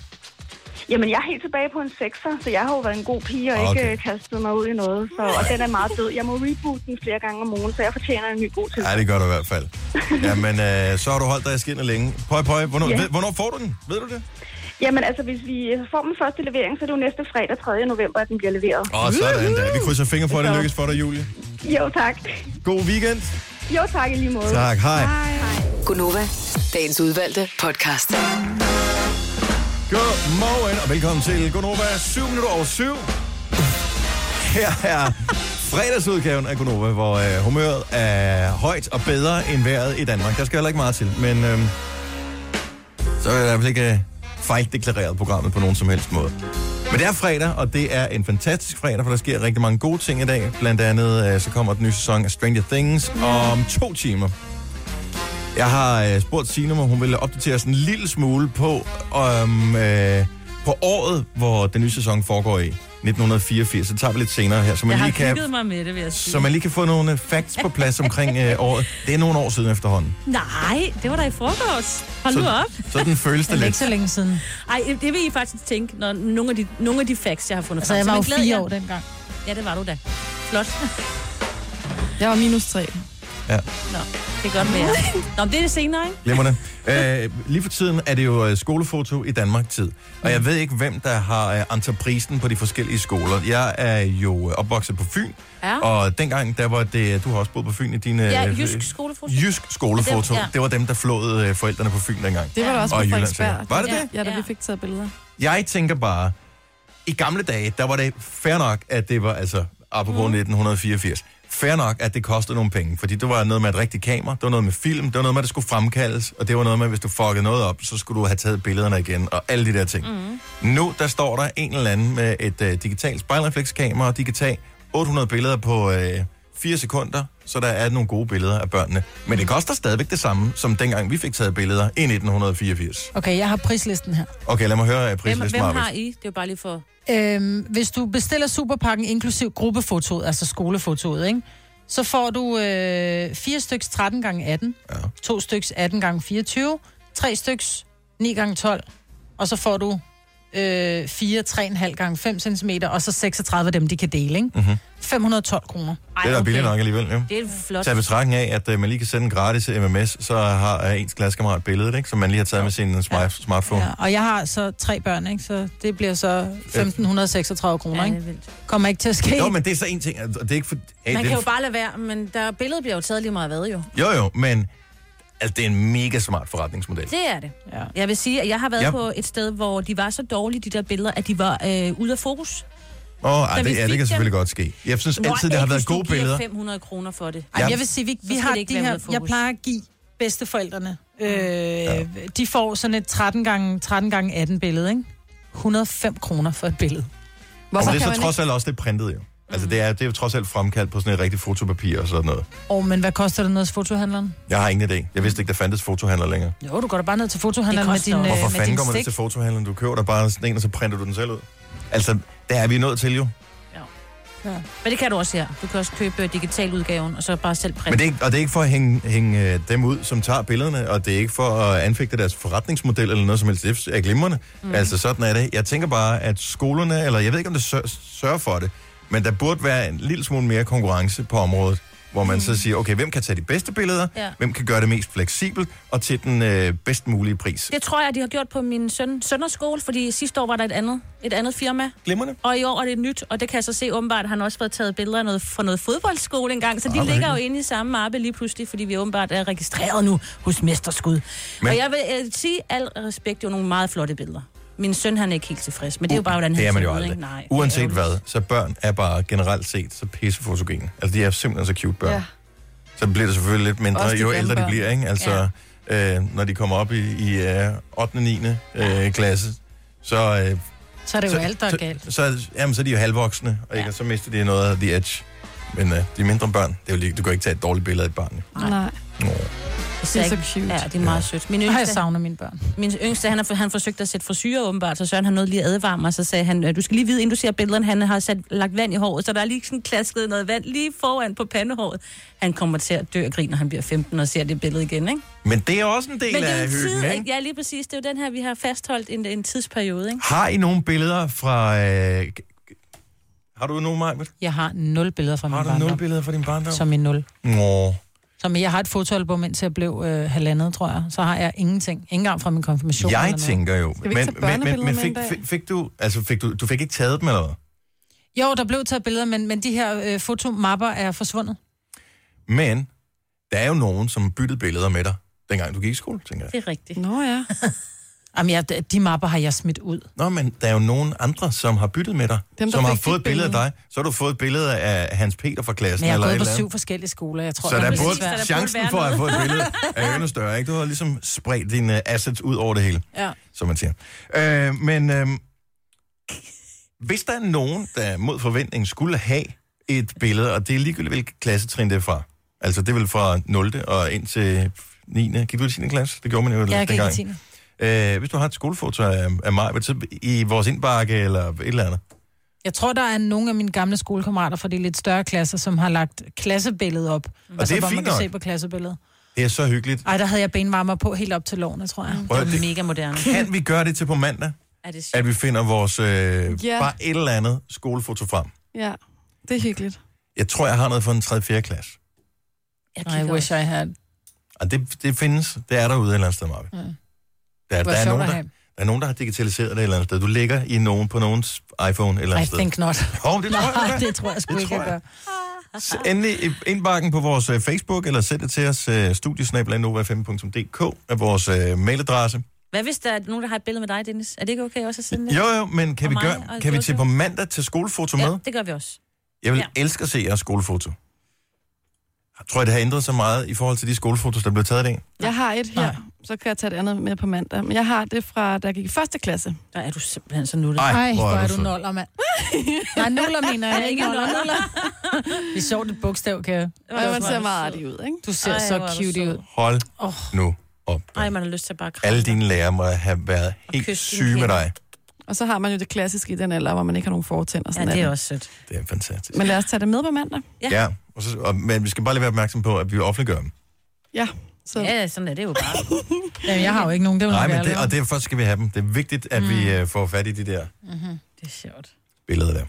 Speaker 8: Jamen, jeg er helt tilbage på en 6'er, så jeg har jo været en god pige og
Speaker 1: Okay.
Speaker 8: ikke øh, kastet mig ud i noget. Så, og den er meget død. Jeg må reboot den flere gange om ugen, så jeg fortjener en ny god tid.
Speaker 1: Ja, det gør du i hvert fald. Jamen, øh, så har du holdt dig i skinnet længe. Pøj, pøj. Hvornår,
Speaker 8: Ja.
Speaker 1: ved, hvornår får du den? Ved du det?
Speaker 8: Jamen, altså, hvis vi øh, får den første levering, så er det jo næste fredag 3. november, at den bliver leveret.
Speaker 1: Åh, sådan da. Vi krydser fingre for, at det lykkes for dig, Julie.
Speaker 8: Jo, tak.
Speaker 1: God weekend.
Speaker 8: Jo, tak i lige måde.
Speaker 1: Tak, hej.
Speaker 5: Gunova, dagens udvalgte podcast.
Speaker 1: Godmorgen, og velkommen til Gonova 7 minutter over 7. Her er fredagsudgaven af Gonova, hvor øh, humøret er højt og bedre end vejret i Danmark. Der skal heller ikke meget til, men øh, så er jeg i hvert fald ikke øh, fejldeklareret programmet på nogen som helst måde. Men det er fredag, og det er en fantastisk fredag, for der sker rigtig mange gode ting i dag. Blandt andet øh, så kommer den nye sæson af Stranger Things om to timer. Jeg har øh, spurgt Signe, om hun ville opdatere os en lille smule på, om, øh, på året, hvor den nye sæson foregår i. 1984. Så tager vi lidt senere her, så man,
Speaker 2: Jeg
Speaker 1: lige
Speaker 2: har
Speaker 1: kan,
Speaker 2: hygget mig med det, vil jeg sige.
Speaker 1: så man lige kan få nogle øh, facts på plads omkring øh, året. Det er nogle år siden efterhånden.
Speaker 2: Nej, det var da i frokost. Hold nu
Speaker 1: Så,
Speaker 2: op.
Speaker 1: så den føles det
Speaker 3: Det er ikke
Speaker 1: lidt.
Speaker 3: så længe siden. Altså,
Speaker 2: Ej, det vil I faktisk tænke, når nogle af de, nogle af de facts, jeg har fundet
Speaker 3: Altså,
Speaker 2: frem.
Speaker 3: jeg
Speaker 2: Så
Speaker 3: var jo
Speaker 2: men glæd
Speaker 3: fire
Speaker 2: jer.
Speaker 3: år dengang.
Speaker 2: Ja, det var du da. Flot.
Speaker 4: Jeg var minus 3.
Speaker 2: Nå, det er godt med jer. Nå, men det er det senere, ikke?
Speaker 1: Glimrende. Øh, lige for tiden er det jo øh, skolefoto i Danmark-tid. Og jeg ved ikke, hvem der har øh, entreprisen på de forskellige skoler. Jeg er jo øh, opvokset på Fyn,
Speaker 2: Ja.
Speaker 1: og dengang, der var det... øh, Du har også boet på Fyn i dine...
Speaker 2: Ja,
Speaker 1: øh,
Speaker 2: jysk skolefoto.
Speaker 1: Jysk skolefoto.
Speaker 2: Dem, ja.
Speaker 1: Det var dem, der flåede øh, forældrene på Fyn dengang.
Speaker 4: Det var da også
Speaker 1: Og
Speaker 4: på
Speaker 1: i Jylland,
Speaker 4: Frederiksberg.
Speaker 1: sikkert. Var det
Speaker 2: Ja.
Speaker 1: det?
Speaker 4: Ja, da vi fik taget billeder.
Speaker 1: Jeg tænker bare, i gamle dage, der var det fair nok, at det var, altså, apropos
Speaker 2: Mhm.
Speaker 1: mm. 1984, fair nok, at det kostede nogle penge, fordi det var noget med et rigtigt kamera, det var noget med film, det var noget med, at det skulle fremkaldes, og det var noget med, at hvis du fuckede noget op, så skulle du have taget billederne igen, og alle de der ting.
Speaker 2: Mhm.
Speaker 1: Mm. Nu, der står der en eller anden med et øh, digitalt spejlreflekskamera, og de kan tage 800 billeder på øh, 4 sekunder, så der er nogle gode billeder af børnene. Men det koster stadigvæk det samme, som dengang vi fik taget billeder i 1984.
Speaker 3: Okay, jeg har prislisten her.
Speaker 1: Okay, lad mig høre øh,
Speaker 2: Hvem,
Speaker 1: prislisten,
Speaker 2: hvem
Speaker 1: Marvitt.
Speaker 2: har I? Det er jo bare lige for...
Speaker 3: Øhm, hvis du bestiller superpakken inklusiv gruppefotoet, altså skolefotoet, ikke? så får du øh, 4 styks 13 gange 18,
Speaker 1: Ja.
Speaker 3: 2 styks 18 gange 24, 3 styks 9 gange 12, og så får du øh, 4, 3,5 gange 5 cm, og så 36 af dem, de kan dele. Ikke? Mm-hmm.
Speaker 1: Mhm.
Speaker 3: 512 kroner.
Speaker 2: Ej,
Speaker 1: Det er da billigt nok alligevel, jo.
Speaker 2: Det er flot.
Speaker 1: Tag i betragtning af, at øh, man lige kan sende en gratis MMS, så har øh, ens klassekammerat billedet, ikke? som man lige har taget med sin øh, smart smartphone.
Speaker 3: Ja, og jeg har så tre børn, ikke? så det bliver så 1536 kroner.
Speaker 2: Ja, det
Speaker 3: Ikke?
Speaker 2: er vildt.
Speaker 3: Kommer ikke til at ske.
Speaker 1: Jo, men det er så en ting, og det er ikke for... Hey,
Speaker 2: Man
Speaker 1: det
Speaker 2: kan
Speaker 1: er,
Speaker 2: jo bare lade være, men der billedet bliver jo taget lige meget hvad, jo.
Speaker 1: Jo, jo, men altså, det er en mega smart forretningsmodel.
Speaker 2: Det er det.
Speaker 3: Ja.
Speaker 2: Jeg vil sige, at jeg har været
Speaker 1: Ja.
Speaker 2: ja. på et sted, hvor de var så dårlige, de der billeder, at de var øh, ude af fokus.
Speaker 1: Åh, ej,
Speaker 2: Da vi
Speaker 1: det, ja, det
Speaker 2: fik
Speaker 1: kan
Speaker 2: dem-
Speaker 1: selvfølgelig godt ske. Jeg synes altid, det har været gode billeder.
Speaker 2: 500 kroner for det.
Speaker 3: Ej,
Speaker 1: Ja.
Speaker 3: ja, jeg vil sige, vi, vi
Speaker 2: skal
Speaker 3: har
Speaker 2: det ikke
Speaker 3: de
Speaker 2: være ude
Speaker 3: her,
Speaker 2: af fokus.
Speaker 3: jeg plejer at give bedsteforældrene. Øh, ja. De får sådan et 13 gange, 13 gange 18 billede, ikke? 105 kroner for et billede.
Speaker 1: Og
Speaker 4: Hvorfor
Speaker 1: det
Speaker 4: kan
Speaker 1: er
Speaker 4: man
Speaker 1: så
Speaker 4: ikke?
Speaker 1: trods alt også det printede jo. Altså, det er, det er jo trods alt fremkaldt på sådan et rigtigt fotopapir og sådan noget.
Speaker 3: Og men hvad koster det noget hos fotohandleren?
Speaker 1: Jeg har ingen idé. Jeg vidste ikke, der fandtes fotohandler længere.
Speaker 3: Jo, du går da bare ned til fotohandleren
Speaker 2: Det
Speaker 3: med
Speaker 2: koster
Speaker 3: din, øh,
Speaker 2: også.
Speaker 1: Hvorfor
Speaker 3: med
Speaker 1: fanden
Speaker 3: din
Speaker 1: går man ned
Speaker 3: stik.
Speaker 1: til fotohandleren? Du køber der bare sådan en, og så printer du den selv ud. Altså, der er vi nået til jo.
Speaker 2: Men det kan du også her. Du kan også købe øh, digitaludgaven, og så bare selv printe.
Speaker 1: Men det er ikke, og det er ikke for at hænge, hænge øh, dem ud, som tager billederne, og det er ikke for at anfægte deres forretningsmodel eller noget som helst. Det er glimrende. Mm. Altså, sådan er det. Jeg tænker bare, at skolerne, eller jeg ved ikke, om det sør- sørger for det, men der burde være en lille smule mere konkurrence på området, hvor man mm. så siger, okay, hvem kan tage de bedste billeder,
Speaker 2: Ja.
Speaker 1: hvem kan gøre det mest fleksibelt, og til den øh, bedst mulige pris.
Speaker 2: Det tror jeg, de har gjort på min søn, sønderskole, fordi sidste år var der et andet, et andet firma.
Speaker 1: Glimrende.
Speaker 2: Og i år er det nyt, og det kan jeg så se åbenbart, at han også har taget billeder af noget, fra noget fodboldskole engang. Så de
Speaker 1: Ah, hvor
Speaker 2: ligger jo
Speaker 1: hyggeligt.
Speaker 2: inde i samme mappe lige pludselig, fordi vi åbenbart er registreret nu hos Mesterskud.
Speaker 1: Men-
Speaker 2: Men... Og jeg vil øh, sige al respekt, det er jo nogle meget flotte billeder. Min søn, han er ikke helt tilfreds, men det er jo bare, hvordan han
Speaker 1: Uh, det er man
Speaker 2: ser
Speaker 1: jo
Speaker 2: ud,
Speaker 1: aldrig.
Speaker 2: ikke? Nej, det er
Speaker 1: Uanset
Speaker 2: ærgerligt.
Speaker 1: hvad, så børn er bare generelt set så pissefotogene. Altså, de er simpelthen så cute børn. Ja.
Speaker 4: Ja.
Speaker 1: så bliver det selvfølgelig lidt mindre,
Speaker 4: Også de
Speaker 1: jo
Speaker 4: grimme
Speaker 1: ældre de
Speaker 4: børn.
Speaker 1: bliver, ikke? Altså, ja. øh, når de kommer op i, i øh, 8. 9. Øh, klasse, så, øh,
Speaker 3: Så er det jo
Speaker 1: så,
Speaker 3: alt, der er galt.
Speaker 1: så, så, jamen, så er de jo halvvoksne, og, ikke?
Speaker 2: Ja.
Speaker 1: og så mister de noget af the edge. Men øh, de mindre børn, det er jo lige, du kan ikke tage et dårligt billede af et barn. jo.
Speaker 4: Nej.
Speaker 1: Nå.
Speaker 2: Jeg så
Speaker 4: Det er så
Speaker 2: ikke-
Speaker 4: cute.
Speaker 2: Ja, det er meget sødt. Min
Speaker 3: Ej, jeg
Speaker 2: yngste,
Speaker 3: savner mine børn.
Speaker 2: min yngste han, har, han forsøgte at sætte frisyrer åbenbart, så Søren han nåede lige at advare mig, så sagde han, øh, du skal lige vide, inden du ser billederne, han har sat, lagt vand i håret, så der er lige sådan klasket noget vand lige foran på pandehåret. Han kommer til at dø af grin, når han bliver 15 og ser det billede igen, ikke?
Speaker 1: Men det er også en del
Speaker 2: Men det er jo
Speaker 1: af
Speaker 2: en tid,
Speaker 1: hyggen, ikke?
Speaker 2: ikke? Ja, lige præcis. Det er jo den her, vi har fastholdt en, en tidsperiode, ikke?
Speaker 1: Har I nogle billeder fra... Øh, k- k- har du nogen, Majbet?
Speaker 3: Jeg har nul billeder fra min
Speaker 1: Har du nogle
Speaker 3: barndom.
Speaker 1: billeder fra din barndom?
Speaker 3: Som i nul.
Speaker 1: Nå.
Speaker 3: Som jeg har et fotoalbum, indtil jeg blev øh, halvandet, tror jeg. Så har jeg ingenting. Ikke engang fra min konfirmation.
Speaker 1: Jeg
Speaker 3: eller noget.
Speaker 1: tænker jo...
Speaker 4: vi ikke tage børnebilleder med
Speaker 1: fik,
Speaker 4: en dag?
Speaker 1: fik, fik, du... Altså, fik du, du fik ikke taget dem, eller hvad?
Speaker 3: Jo, der blev taget billeder, men, men de her øh, fotomapper er forsvundet.
Speaker 1: Men der er jo nogen, som byttede billeder med dig, dengang du gik i skole, tænker jeg.
Speaker 2: Det er rigtigt.
Speaker 4: Nå ja.
Speaker 3: Jamen, jeg, de mapper har jeg smidt ud.
Speaker 1: Nå, men der er jo nogen andre, som har byttet med dig,
Speaker 4: Dem, der
Speaker 1: som har
Speaker 4: fik dit
Speaker 1: fået et billede af
Speaker 4: billede.
Speaker 1: dig. Så har du fået et billede af Hans Peter fra klassen,
Speaker 3: Men jeg har
Speaker 1: eller et
Speaker 3: gået på
Speaker 1: eller andet.
Speaker 3: syv forskellige skoler, jeg tror.
Speaker 1: Så
Speaker 3: jeg
Speaker 1: der
Speaker 3: er
Speaker 1: er
Speaker 2: præcis,
Speaker 3: blevet-
Speaker 2: så
Speaker 1: både chancen
Speaker 2: der burde være
Speaker 1: for at
Speaker 2: noget.
Speaker 1: få et billede er jo endnu større, ikke? Du har ligesom spredt dine assets ud over det hele.
Speaker 3: Ja.
Speaker 1: som man siger. Øh, men øh, hvis der er nogen, der mod forventning skulle have et billede, og det er ligegyldigt, hvilket klassetrin det er fra. Altså, det er vel fra 0. og ind til 9. Gik du i 10. klasse? Det gjorde man jo
Speaker 3: Jeg gik i
Speaker 1: dengang.
Speaker 3: tiende.
Speaker 1: Øh, hvis du har et skolefoto af, af mig, vil du så i vores indbakke eller et eller andet.
Speaker 3: Jeg tror, der er nogle af mine gamle skolekammerater fra de lidt større klasser, som har lagt klassebilledet op. Og
Speaker 1: det er
Speaker 3: hvor
Speaker 1: fint
Speaker 3: man kan
Speaker 1: nok.
Speaker 3: se på klassebilledet.
Speaker 1: Det er så hyggeligt.
Speaker 3: Ej, der havde jeg benvarmer på helt op til lårene, tror jeg.
Speaker 1: Prøv, at-
Speaker 2: Det er
Speaker 1: det,
Speaker 2: mega moderne.
Speaker 1: kan vi gøre det til på mandag,
Speaker 2: Er det sjovt?
Speaker 1: at vi finder vores øh,
Speaker 4: Ja.
Speaker 1: bare et eller andet skolefoto frem?
Speaker 4: Ja, det er hyggeligt.
Speaker 1: Jeg tror, jeg har noget for en 3. 4. klasse.
Speaker 2: Jeg
Speaker 3: I
Speaker 2: kigger
Speaker 3: wish
Speaker 2: også.
Speaker 3: I had.
Speaker 1: Og det, det findes. Det er derude et eller andet sted, Marve. Ja. Der, der,
Speaker 3: Mm. Hvor
Speaker 1: er
Speaker 3: sjovt
Speaker 1: nogen,
Speaker 3: at
Speaker 1: der,
Speaker 3: have.
Speaker 1: der er nogen, der har digitaliseret det et eller andet sted. Du ligger i nogen på nogens iPhone et eller
Speaker 3: I
Speaker 1: andet
Speaker 3: think not.
Speaker 1: sted. Hov, det tror jeg,
Speaker 3: Nej,
Speaker 1: du
Speaker 3: det tror jeg sgu
Speaker 1: Det
Speaker 3: ikke,
Speaker 1: tror
Speaker 3: jeg
Speaker 1: jeg.
Speaker 3: gør.
Speaker 1: gør. Så Endelig i- indbakken på vores øh, Facebook, eller send det til os, øh, studiesnabelandnova5.dk, er vores øh, mailadresse.
Speaker 3: Mm.
Speaker 2: Hvad hvis der er nogen, der har et billede med dig, Dennis? Er det ikke okay også at sende det?
Speaker 1: Jo, jo, men kan
Speaker 2: Og
Speaker 1: vi,
Speaker 2: mig
Speaker 1: gøre,
Speaker 2: og
Speaker 1: kan vi
Speaker 2: Jojo.
Speaker 1: til på mandag til skolefoto med?
Speaker 2: ja, det gør vi også.
Speaker 1: Jeg vil
Speaker 2: Ja.
Speaker 1: elske at se jeres skolefoto. Jeg tror, det har ændret sig meget i forhold til de skolefotos, der blev taget af.
Speaker 4: Jeg har et her, så kan jeg tage det andet med på mandag. Men jeg har det fra, da jeg gik i første klasse.
Speaker 2: Der er du simpelthen så nuttet.
Speaker 3: Ej, hvor er du
Speaker 1: sød.
Speaker 3: noller, mand. Nej, nuller mener jeg ikke. Nuller, nuller. Det er sjovt et bogstav, kan
Speaker 4: Og man ser meget artig ud, ikke?
Speaker 3: Du ser
Speaker 2: Ej,
Speaker 3: så
Speaker 2: hvor er du
Speaker 3: cute
Speaker 2: sød.
Speaker 3: ud.
Speaker 1: Hold
Speaker 3: Åh.
Speaker 1: nu op.
Speaker 2: Nej, man har lyst til at bare kramme.
Speaker 1: Alle dine lærere må have været helt
Speaker 2: kysse dine
Speaker 1: syge med
Speaker 2: hænder.
Speaker 1: dig.
Speaker 4: Og så har man jo det klassiske i den alder, hvor man ikke har nogen fortænder. og
Speaker 2: Ja,
Speaker 4: Sådan
Speaker 2: det er
Speaker 4: noget.
Speaker 2: også sødt.
Speaker 1: Det er fantastisk.
Speaker 4: Men lad os tage det med på mandag.
Speaker 2: Ja.
Speaker 1: Ja, og så, og, men vi skal bare lige være opmærksom på, at vi offentliggør dem.
Speaker 4: Ja, så
Speaker 2: Ja, sådan er det jo bare.
Speaker 3: Jamen, jeg har jo ikke nogen, det vil
Speaker 1: Nej,
Speaker 3: jeg
Speaker 1: men det,
Speaker 3: lave.
Speaker 1: og derfor skal vi have dem. Det er vigtigt, at mm. vi øh, får fat i de der
Speaker 2: Det er sjovt.
Speaker 1: billeder der.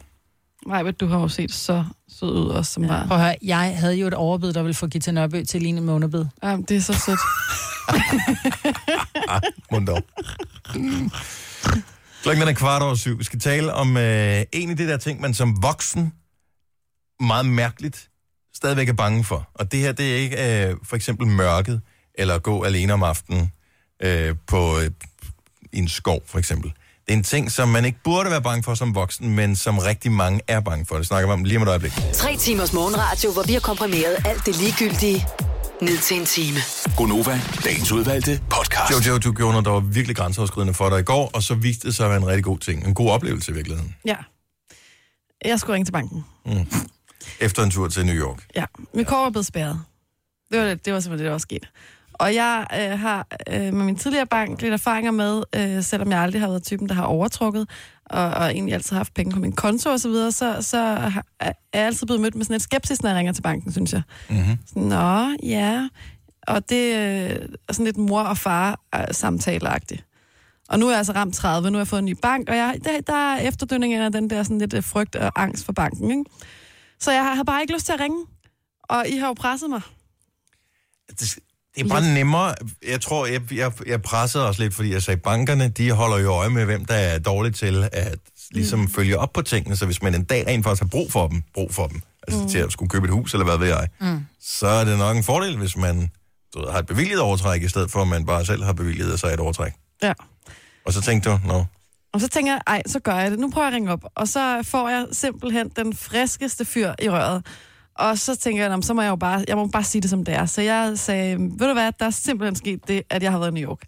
Speaker 4: Majbet, du har jo set så sød ud også som barn.
Speaker 3: Prøv at høre, jeg havde jo et overbid, der ville få Gita Nørby til at ligne en månebid.
Speaker 4: Jamen, det er så sødt.
Speaker 1: Mundt op. Klokken er kvart over syv. Vi skal tale om øh, en af de der ting, man som voksen meget mærkeligt stadigvæk er bange for. Og det her, det er ikke øh, for eksempel mørket, eller at gå alene om aftenen øh, på øh, i en skov, for eksempel. Det er en ting, som man ikke burde være bange for som voksen, men som rigtig mange er bange for. Det snakker vi om lige om et øjeblik.
Speaker 5: Tre timers morgenradio, hvor vi har komprimeret alt det ligegyldige ned til en time.
Speaker 6: Gonova, dagens udvalgte podcast.
Speaker 1: Jojo, du gjorde noget, der var virkelig grænseoverskridende for dig i går, og så viste det sig at være en rigtig god ting. En god oplevelse i virkeligheden.
Speaker 4: Ja. Jeg skulle ringe til banken.
Speaker 1: Efter en tur til New York.
Speaker 4: Ja, mit kort var blevet spærret. Det var, det, det var simpelthen det, der var sket. Og jeg øh, har øh, med min tidligere bank lidt erfaringer med, øh, selvom jeg aldrig har været typen, der har overtrukket, og, og egentlig altid har haft penge på min konto og så, videre, så, så har, er jeg altid blevet mødt med sådan et skepsis, når jeg ringer til banken, synes jeg. Mm-hmm. Nå, ja. Og det øh, er sådan lidt mor og far øh, samtaleagtigt. Og nu er jeg altså ramt 30, nu har jeg fået en ny bank, og jeg, der, der er efterdønningerne af den der sådan lidt øh, frygt og angst for banken. Ikke? Så jeg havde bare ikke lyst til at ringe. Og I har jo presset mig.
Speaker 1: Det, det er bare nemmere. Jeg tror, jeg, jeg, jeg pressede også lidt, fordi jeg sagde, bankerne, de holder jo øje med, hvem der er dårlig til at ligesom mm. følge op på tingene. Så hvis man en dag rent faktisk har brug for dem, brug for dem, altså mm. til at skulle købe et hus eller hvad ved jeg, mm. så er det nok en fordel, hvis man du ved, har et bevilget overtræk, i stedet for at man bare selv har bevilget sig et overtræk.
Speaker 4: Ja.
Speaker 1: Og så tænkte du, nå,
Speaker 4: Og så tænker jeg, ej, så gør jeg det. Nu prøver jeg at ringe op. Og så får jeg simpelthen den friskeste fyr i røret. Og så tænker jeg, "Nå, men så må jeg jo bare, jeg må bare sige det, som det er. Så jeg sagde, ved du hvad, der er simpelthen sket det, at jeg har været i New York.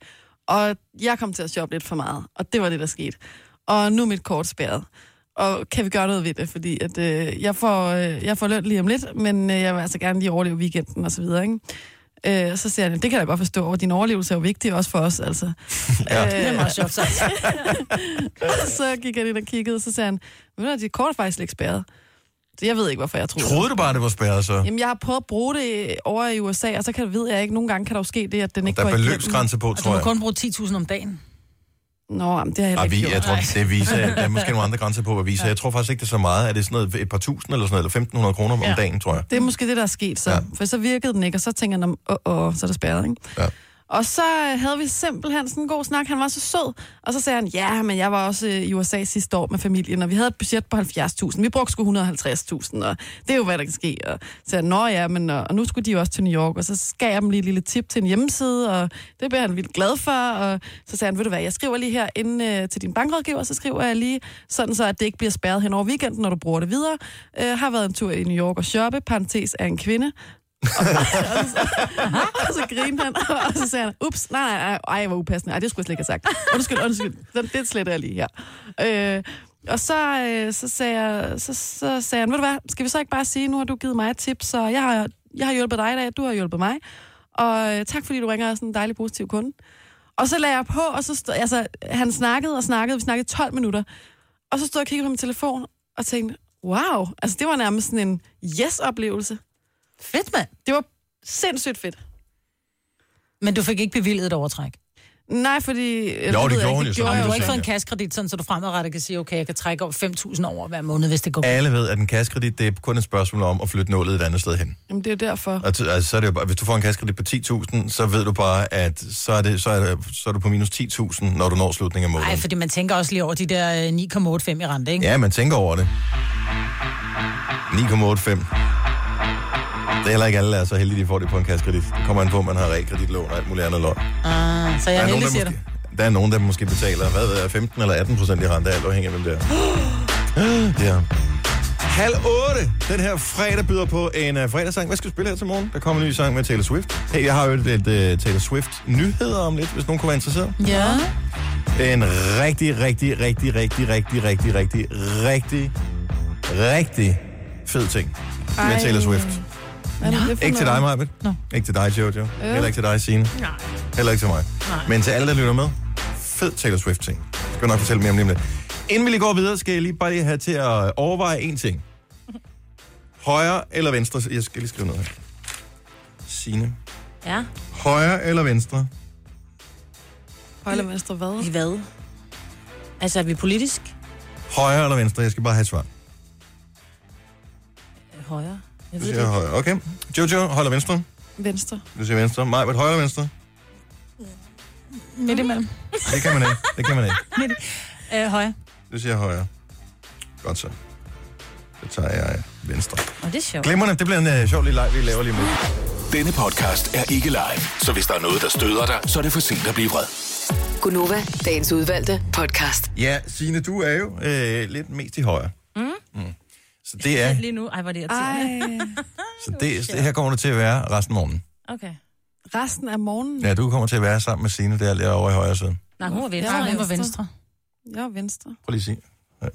Speaker 4: Og jeg kom til at shoppe lidt for meget. Og det var det, der skete. Og nu er mit kort spærret. Og kan vi gøre noget ved det? Fordi at, øh, jeg, får, øh, jeg får løn lige om lidt, men øh, jeg vil altså gerne lige overleve weekenden og så videre, ikke? Øh, så siger han, det kan jeg da godt forstå, og din overlevelse er jo vigtig også for os, altså.
Speaker 1: Ja.
Speaker 4: Øh,
Speaker 3: Det er meget sjovt sagt.
Speaker 4: og så gik han ind og kiggede, og så sagde han, men de kort er faktisk ikke spærret. Så jeg ved ikke, hvorfor jeg troede det.
Speaker 1: Troede du bare, det var spærret så?
Speaker 4: Jamen, jeg har prøvet at bruge det over i USA, og så kan, ved jeg ikke, nogle gange kan der jo ske det, at den ikke
Speaker 1: Der er
Speaker 4: går
Speaker 1: beløbsgrænse på,
Speaker 3: Du
Speaker 1: tror
Speaker 3: må
Speaker 1: jeg.
Speaker 3: kun bruge 10.000 om dagen.
Speaker 4: Nå, jamen, det har jeg heller
Speaker 1: Ej,
Speaker 4: ikke
Speaker 1: vi,
Speaker 4: gjort.
Speaker 1: jeg tror, det er visa. Der er måske nogle andre grænser på, hvad visa. Jeg tror faktisk ikke, det er så meget. Er det sådan noget, et par tusind eller sådan noget, eller 1.500 kroner om
Speaker 3: Ja.
Speaker 1: dagen, tror jeg.
Speaker 4: Det er måske det, der er sket så.
Speaker 1: Ja.
Speaker 4: Ja. For så virkede den ikke, og så tænker jeg, åh, åh, åh, så er der spærret, ikke?
Speaker 1: Ja.
Speaker 4: Og så øh, havde vi simpelthen sådan en god snak. Han var så sød. Og så sagde han, ja, men jeg var også øh, i USA sidste år med familien, og vi havde et budget på 70.000. Vi brugte sgu 150.000, og det er jo, hvad der kan ske. Og så sagde han, nå ja, men og, og nu skulle de jo også til New York, og så gav jeg dem lige et lille tip til en hjemmeside, og det blev han vildt glad for. Og så sagde han, ved du hvad, jeg skriver lige her inde øh, til din bankrådgiver, så skriver jeg lige, sådan så, at det ikke bliver spærret hen over weekenden, når du bruger det videre. Øh, har været en tur i New York og shoppe, parentes er en kvinde, og så grinede han, og så sagde han, ups, nej, nej, nej, ej, hvor upassende. Ej, det skulle jeg slet ikke have sagt. Undskyld, undskyld. Den, det sletter jeg lige her. Øh, og så, øh, så, sagde jeg, så, så sagde han, ved du hvad, skal vi så ikke bare sige, nu har du givet mig et tip, så jeg har, jeg har hjulpet dig i dag, du har hjulpet mig. Og øh, tak, fordi du ringer og er sådan en dejlig, positiv kunde. Og så lagde jeg på, og så stod, altså, han snakkede og snakkede, vi snakkede 12 minutter. Og så stod jeg og kiggede på min telefon og tænkte, wow, altså det var nærmest sådan en yes-oplevelse.
Speaker 3: Fedt, mand.
Speaker 4: Det var sindssygt fedt.
Speaker 3: Men du fik ikke bevillet et overtræk.
Speaker 4: Nej, fordi... øh,
Speaker 1: det gjorde
Speaker 4: ved jeg ikke,
Speaker 1: hun jo så. Nej,
Speaker 3: Du
Speaker 4: gjorde jeg
Speaker 3: har
Speaker 1: det
Speaker 3: ikke
Speaker 1: tænker
Speaker 3: fået en
Speaker 1: jeg.
Speaker 3: kaskredit, sådan, så du fremadrettet kan sige, okay, jeg kan trække over 5.000 over hver måned, hvis det går.
Speaker 1: Alle ved, at en kaskredit, det er kun et spørgsmål om at flytte nålet et andet sted hen.
Speaker 4: Jamen, det er jo derfor.
Speaker 1: Og t- altså, så er det jo bare, hvis du får en kaskredit på 10.000, så ved du bare, at så er, det, så er, det, så er du på minus 10.000, når du når slutningen af måneden.
Speaker 3: Nej, fordi man tænker også lige over de der øh, 9,85 i rente, ikke?
Speaker 1: Ja, man tænker over det. 9,85. Det er heller ikke alle, der er så heldige, de får det på en kassekredit. Det kommer an på, om man har realkreditlån og alt muligt andet lort. Der
Speaker 3: Ah, så jeg er heldig, siger
Speaker 1: der,
Speaker 3: du.
Speaker 1: måske, der er nogen, der måske betaler, hvad ved jeg, 15 eller 18 procent i rente, alt afhængig af, hvem det er. ja. Halv otte. Den her fredag byder på en uh, fredagssang. Hvad skal vi spille her til morgen? Der kommer en ny sang med Taylor Swift. Hey, jeg har jo et, et uh, Taylor Swift-nyheder om lidt, hvis nogen kunne være interesseret.
Speaker 3: Ja.
Speaker 1: En rigtig, rigtig, rigtig, rigtig, rigtig, rigtig, rigtig, rigtig, rigtig fed ting med
Speaker 4: Ej.
Speaker 1: Taylor Swift.
Speaker 4: Hvad er det for
Speaker 1: Ikke til dig,
Speaker 4: noget?
Speaker 1: Majbet. Ikke til dig, Jojo. Heller ikke til dig, Signe.
Speaker 3: Nej.
Speaker 1: Heller ikke til mig. Men til alle, der lytter med, fed Taylor Swift-ting. Jeg skal nok fortælle mere om det om lidt. Inden vi lige går videre, skal jeg lige bare lige have til at overveje en ting. Højre eller venstre? Jeg skal lige skrive noget her. Signe.
Speaker 2: Ja.
Speaker 1: Højre eller venstre?
Speaker 4: Højre eller venstre hvad?
Speaker 2: I hvad? Altså, er vi politisk
Speaker 1: Højre eller venstre? Jeg skal bare have et svar.
Speaker 2: højere? Jeg
Speaker 1: Du
Speaker 2: ved
Speaker 1: siger
Speaker 2: det.
Speaker 1: højre. Okay. Jojo, holder venstre?
Speaker 4: Venstre.
Speaker 1: Du siger venstre. Maj, hvad højre eller venstre?
Speaker 3: Midt imellem.
Speaker 1: Det kan man ikke. Det kan man ikke.
Speaker 3: Øh, højre.
Speaker 1: Du siger højre. Godt så. Så tager jeg venstre.
Speaker 2: Og det er sjovt.
Speaker 1: Glemmerne, det bliver en uh, sjov lille leg, vi laver lige med.
Speaker 6: Denne podcast er ikke live, så hvis der er noget, der støder dig, så er det for sent at blive vred.
Speaker 5: Gunova, dagens udvalgte podcast.
Speaker 1: Ja, Signe, du er jo øh, lidt mest i højre. Mm. Mm. Så det er,
Speaker 2: Lige nu, ej, hvor er det
Speaker 4: Ej,
Speaker 2: irriterende.
Speaker 1: så det, det her kommer du til at være resten af morgenen.
Speaker 2: Okay.
Speaker 4: resten af morgenen.
Speaker 1: Ja, du kommer til at være sammen med Signe der lidt over i højre side.
Speaker 2: Nej, hun var ved.
Speaker 4: Ja,
Speaker 3: Nej, hun var
Speaker 4: venstre.
Speaker 3: venstre.
Speaker 4: Jeg er venstre.
Speaker 1: Prøv lige at sige.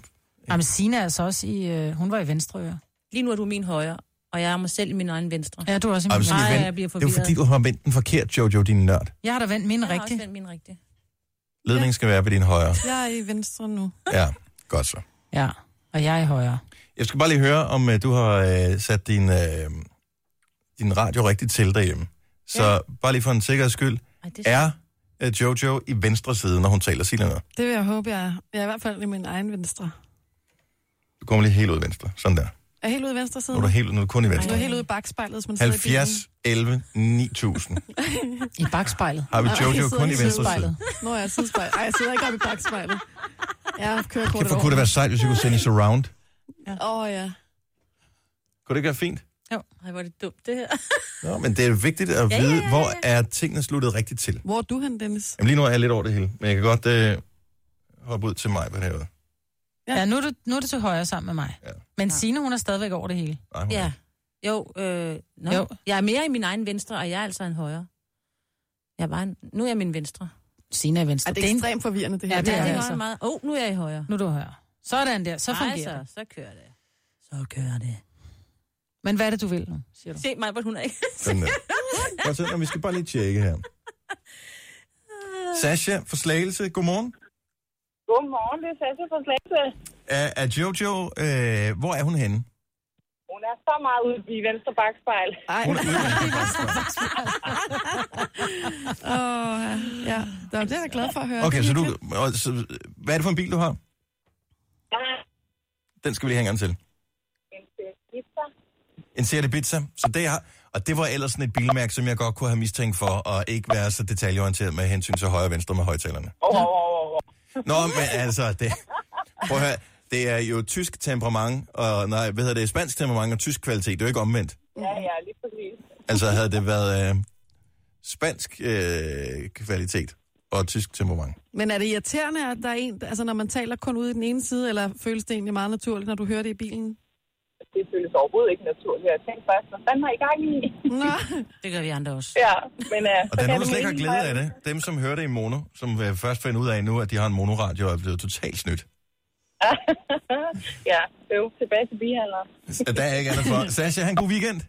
Speaker 3: Jamen, Sina er altså også i... Øh, hun var i venstre øre.
Speaker 2: Lige nu er du min højre, og jeg er mig selv i min egen venstre.
Speaker 3: Ja, du er også i
Speaker 1: Ej, men
Speaker 3: min
Speaker 1: så skal
Speaker 3: venstre.
Speaker 1: vi
Speaker 2: Nej,
Speaker 1: vente.
Speaker 2: jeg bliver
Speaker 1: Det er jo
Speaker 2: forvirret.
Speaker 1: fordi, du har vendt den forkert, Jojo, din nørd.
Speaker 3: Jeg har da vendt min
Speaker 2: jeg har også
Speaker 3: rigtig.
Speaker 2: vendt min rigtige.
Speaker 1: Ledningen skal være ved din højre.
Speaker 4: Jeg er i venstre nu.
Speaker 1: Ja, godt så.
Speaker 3: Ja, og jeg er i højre.
Speaker 1: Jeg skal bare lige høre, om øh, du har øh, sat din, øh, din radio rigtigt til derhjemme. Så ja. bare lige for en sikkerheds skyld,
Speaker 2: Ej, det er...
Speaker 1: er øh, Jojo i venstre side, når hun taler? Sig lige noget.
Speaker 4: Det vil jeg håbe, jeg er. Jeg er i hvert fald i min egen venstre.
Speaker 1: Du kommer lige helt ud i venstre. Sådan der.
Speaker 4: Er jeg helt ude i venstre side?
Speaker 1: Nu er du, helt, nu er du kun i
Speaker 4: Du er
Speaker 1: venstre.
Speaker 4: helt ude i bagspejlet, hvis man sidder i bilen.
Speaker 1: 70, 11, 9000.
Speaker 3: I bagspejlet.
Speaker 1: Har vi
Speaker 4: Ej,
Speaker 1: Jojo
Speaker 4: jeg sidder
Speaker 1: kun i
Speaker 4: i
Speaker 1: venstre side?
Speaker 4: Nå, jeg er sidespejlet. Ej, jeg sidder ikke oppe i bagspejlet. Jeg kører kortet
Speaker 1: For kunne det være sejt, hvis vi kunne sende i surround?
Speaker 4: Åh, oh, ja.
Speaker 1: Kunne det ikke være fint?
Speaker 2: Ej, hvor er det dumt, det her.
Speaker 1: Nå, men det er vigtigt at
Speaker 2: ja, ja,
Speaker 1: vide,
Speaker 2: ja.
Speaker 1: hvor er tingene sluttet rigtigt til.
Speaker 4: Hvor er du hen, Dennis?
Speaker 1: Jamen lige nu er jeg lidt over det hele, men jeg kan godt øh, hoppe ud til mig på det her. Nej,
Speaker 3: Ja, nu er, du, nu er du til højre sammen med mig.
Speaker 1: Ja.
Speaker 3: Ja. Men Sine, hun er stadigvæk over det hele.
Speaker 1: hun er
Speaker 2: Ja. Jo, øh, no.
Speaker 3: Jo.
Speaker 2: jo, jeg er mere i min egen venstre, og jeg er altså en højre. Jeg er bare en... Nu er jeg min venstre.
Speaker 3: Sine er i venstre.
Speaker 4: Er det
Speaker 3: er en-
Speaker 4: ekstremt forvirrende, det her?
Speaker 3: Ja, det
Speaker 2: Ja, det er
Speaker 3: altså.
Speaker 2: altså. meget... Åh, oh, nu er jeg i højre.
Speaker 3: Nu er du højre. Sådan der, så fungerer det.
Speaker 2: altså, så kører det. Så kører det.
Speaker 3: Men hvad er det, du vil nu, siger du?
Speaker 2: Se mig, hvor hun er ikke...
Speaker 1: Sådan der. Godt så, vi skal bare lige tjekke her. Sasha fra Slagelse, godmorgen.
Speaker 9: Godmorgen, det er Sasse fra Slagelse.
Speaker 1: Er, er Jojo, øh, hvor er hun henne?
Speaker 9: Hun er så meget ude i venstre bakspejl.
Speaker 4: Ej,
Speaker 1: Hun er ude.
Speaker 4: åh, ja. Nå, Det er jeg glad for at høre.
Speaker 1: Okay, så du, og så, hvad er det for en bil, du har?
Speaker 9: Jeg har
Speaker 1: Den skal vi lige hænge an til.
Speaker 9: en pizza.
Speaker 1: En Seat Ibiza. Så det har, og det var ellers sådan et bilmærke, som jeg godt kunne have mistænkt for, og ikke være så detaljeorienteret med hensyn til højre og venstre med højtalerne.
Speaker 9: Oh, oh, oh, oh, oh.
Speaker 1: Nå, men altså, det, prøv at høre, det er jo tysk temperament, og nej, hvad hedder det, spansk temperament og tysk kvalitet, det er jo ikke omvendt.
Speaker 9: Ja, ja, lige præcis.
Speaker 1: Altså, havde det været øh, spansk øh, kvalitet og tysk temperament.
Speaker 4: Men er det irriterende, at der er en, altså når man taler kun ud i den ene side, eller føles det egentlig meget naturligt, når du hører det i bilen?
Speaker 9: Det føles overhovedet ikke naturligt. Jeg tænkte først, hvad fanden har I gang i?
Speaker 4: Nå,
Speaker 2: Det gør vi andre også.
Speaker 9: Ja, men uh,
Speaker 1: Og der er nogen, der slet ikke har glæde af det. Dem, som hører det i mono, som øh, først finder ud af nu, at de har en monoradio, er blevet totalt snydt.
Speaker 9: ja, øv, tilbage til bihandleren.
Speaker 1: Så Der er ikke andet for. Sasha, han god weekend.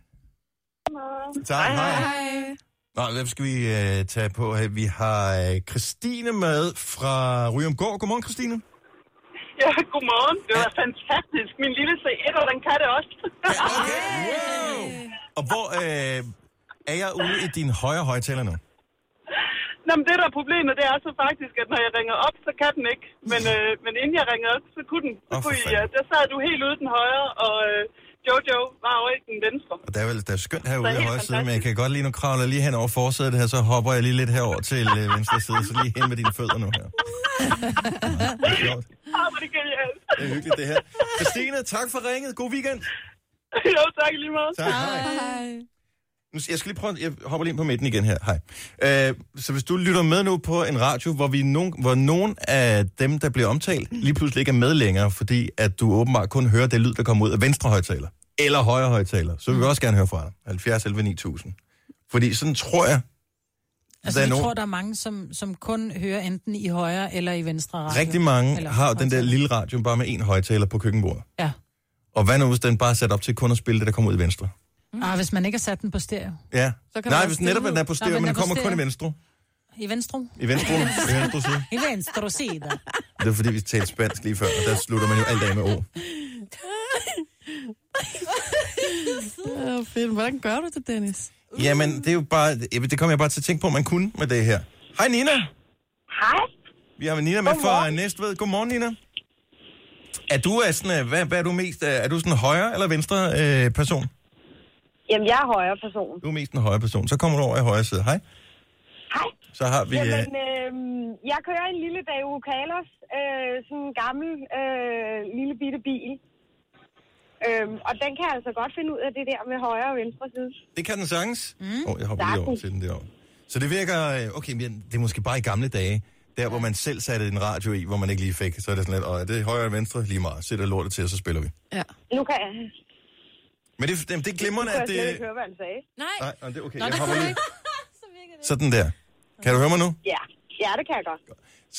Speaker 1: Tak, hej.
Speaker 4: hej.
Speaker 1: Nå, hvem skal vi øh, tage på? her? Vi har øh, Christine med fra Ryumgård. Godmorgen, Christine.
Speaker 9: Ja, godmorgen. Det var fantastisk. Min lille C1, den kan det også.
Speaker 1: Okay. Wow. Og hvor øh, er jeg ude i din højre højtaler nu?
Speaker 9: Nå, men det der er problemet, det er så faktisk, at når jeg ringer op, så kan den ikke. Men, øh, men inden jeg ringede op, så kunne den. Så
Speaker 1: Åh, for
Speaker 9: kunne I, ja,
Speaker 1: fanden.
Speaker 9: der sad du helt ude den højre, og øh, Jojo var over i den venstre.
Speaker 1: Og der er vel der er skønt herude
Speaker 9: Det er
Speaker 1: af
Speaker 9: helt
Speaker 1: højre side, men jeg
Speaker 9: fantastisk.
Speaker 1: kan godt lige nu kravle jeg lige hen over forsædet her, så hopper jeg lige lidt herover til øh, venstre side, så lige hen med dine fødder nu her. Nå, det er sjovt.
Speaker 9: Ah, hvor er det genialt.
Speaker 1: Det er hyggeligt, det her. Christine, tak for ringet. God weekend.
Speaker 9: jo, tak i lige meget.
Speaker 1: Tak, hej.
Speaker 4: Hej.
Speaker 1: Nu- Jeg skal lige prøve, jeg hopper lige ind på midten igen her. Hej. Øh, så hvis du lytter med nu på en radio, hvor, vi nogen, hvor nogen af dem, der bliver omtalt, lige pludselig ikke er med længere, fordi at du åbenbart kun hører det lyd, der kommer ud af venstre højtaler, eller højre højtaler, så vil vi også gerne høre fra dig. 70 11 9000. Fordi sådan tror jeg,
Speaker 3: Altså,
Speaker 1: Der er
Speaker 3: jeg
Speaker 1: nogen-
Speaker 3: tror, der er mange, som, som kun hører enten i højre eller i venstre radio.
Speaker 1: rigtig mange
Speaker 3: Eller
Speaker 1: har jo den der
Speaker 3: højtaler.
Speaker 1: lille radio bare med en højtaler på køkkenbordet.
Speaker 3: Ja.
Speaker 1: Og hvad nu, hvis den bare er sat op til kun at spille det, der kommer ud i venstre?
Speaker 3: Ah, hvis man ikke har sat den på stereo.
Speaker 1: Ja.
Speaker 4: Så kan man
Speaker 1: Nej,
Speaker 4: også
Speaker 1: hvis
Speaker 4: stille
Speaker 1: netop
Speaker 4: ud.
Speaker 1: den er på
Speaker 3: Nå,
Speaker 1: stereo,
Speaker 3: men
Speaker 1: men den
Speaker 3: den er på
Speaker 1: kommer kun i
Speaker 3: stereo.
Speaker 1: venstre.
Speaker 3: I venstre?
Speaker 1: I venstre, i venstre side.
Speaker 3: I venstre side.
Speaker 1: Det er fordi, vi talte spansk lige før, og der slutter man jo alt af med ord.
Speaker 4: Åh, fedt. Hvordan gør du det, Dennis?
Speaker 1: Jamen, det er jo bare... jamen, Det kom jeg bare til at tænke på, man kunne med det her. Hej Nina!
Speaker 9: Hej.
Speaker 1: Vi har Nina med fra Næstved. Godmorgen, Nina. Er du er sådan, øh, hvad, hvad er du mest? øh, Er du sådan højre eller venstre øh, person?
Speaker 9: Jamen, jeg er højre person.
Speaker 1: Du er mest en højre person. Så kommer du over i højre side. Hej.
Speaker 9: Hej.
Speaker 1: Så har vi... Øh,
Speaker 9: Jamen, øh, jeg kører en lille dag Kalos, øh, sådan en gammel øh, lille bitte bil. Øh, og den kan altså godt finde ud af det der med højre og venstre side.
Speaker 1: det kan den sagtens. Åh, mm. oh, jeg hopper lige over til den derovre. Så det virker... øh, Okay, men det er måske bare i gamle dage. Der, hvor man selv satte en radio i, hvor man ikke lige fik, så er det sådan lidt, og er det højre eller venstre? Lige meget. Sætter lortet til, og så spiller vi.
Speaker 4: Ja.
Speaker 9: Nu kan jeg,
Speaker 1: Men det, det, det er
Speaker 9: nu
Speaker 1: glimrende,
Speaker 9: kan
Speaker 1: at
Speaker 9: jeg slet
Speaker 1: det...
Speaker 9: ikke høre, hvad han sagde.
Speaker 2: Nej,
Speaker 1: Nej, nej, det er okay.
Speaker 2: Nå,
Speaker 1: jeg
Speaker 2: det
Speaker 1: hopper
Speaker 2: kunne
Speaker 1: lige. Sådan der. Kan du høre mig nu?
Speaker 9: Ja, ja det kan jeg godt.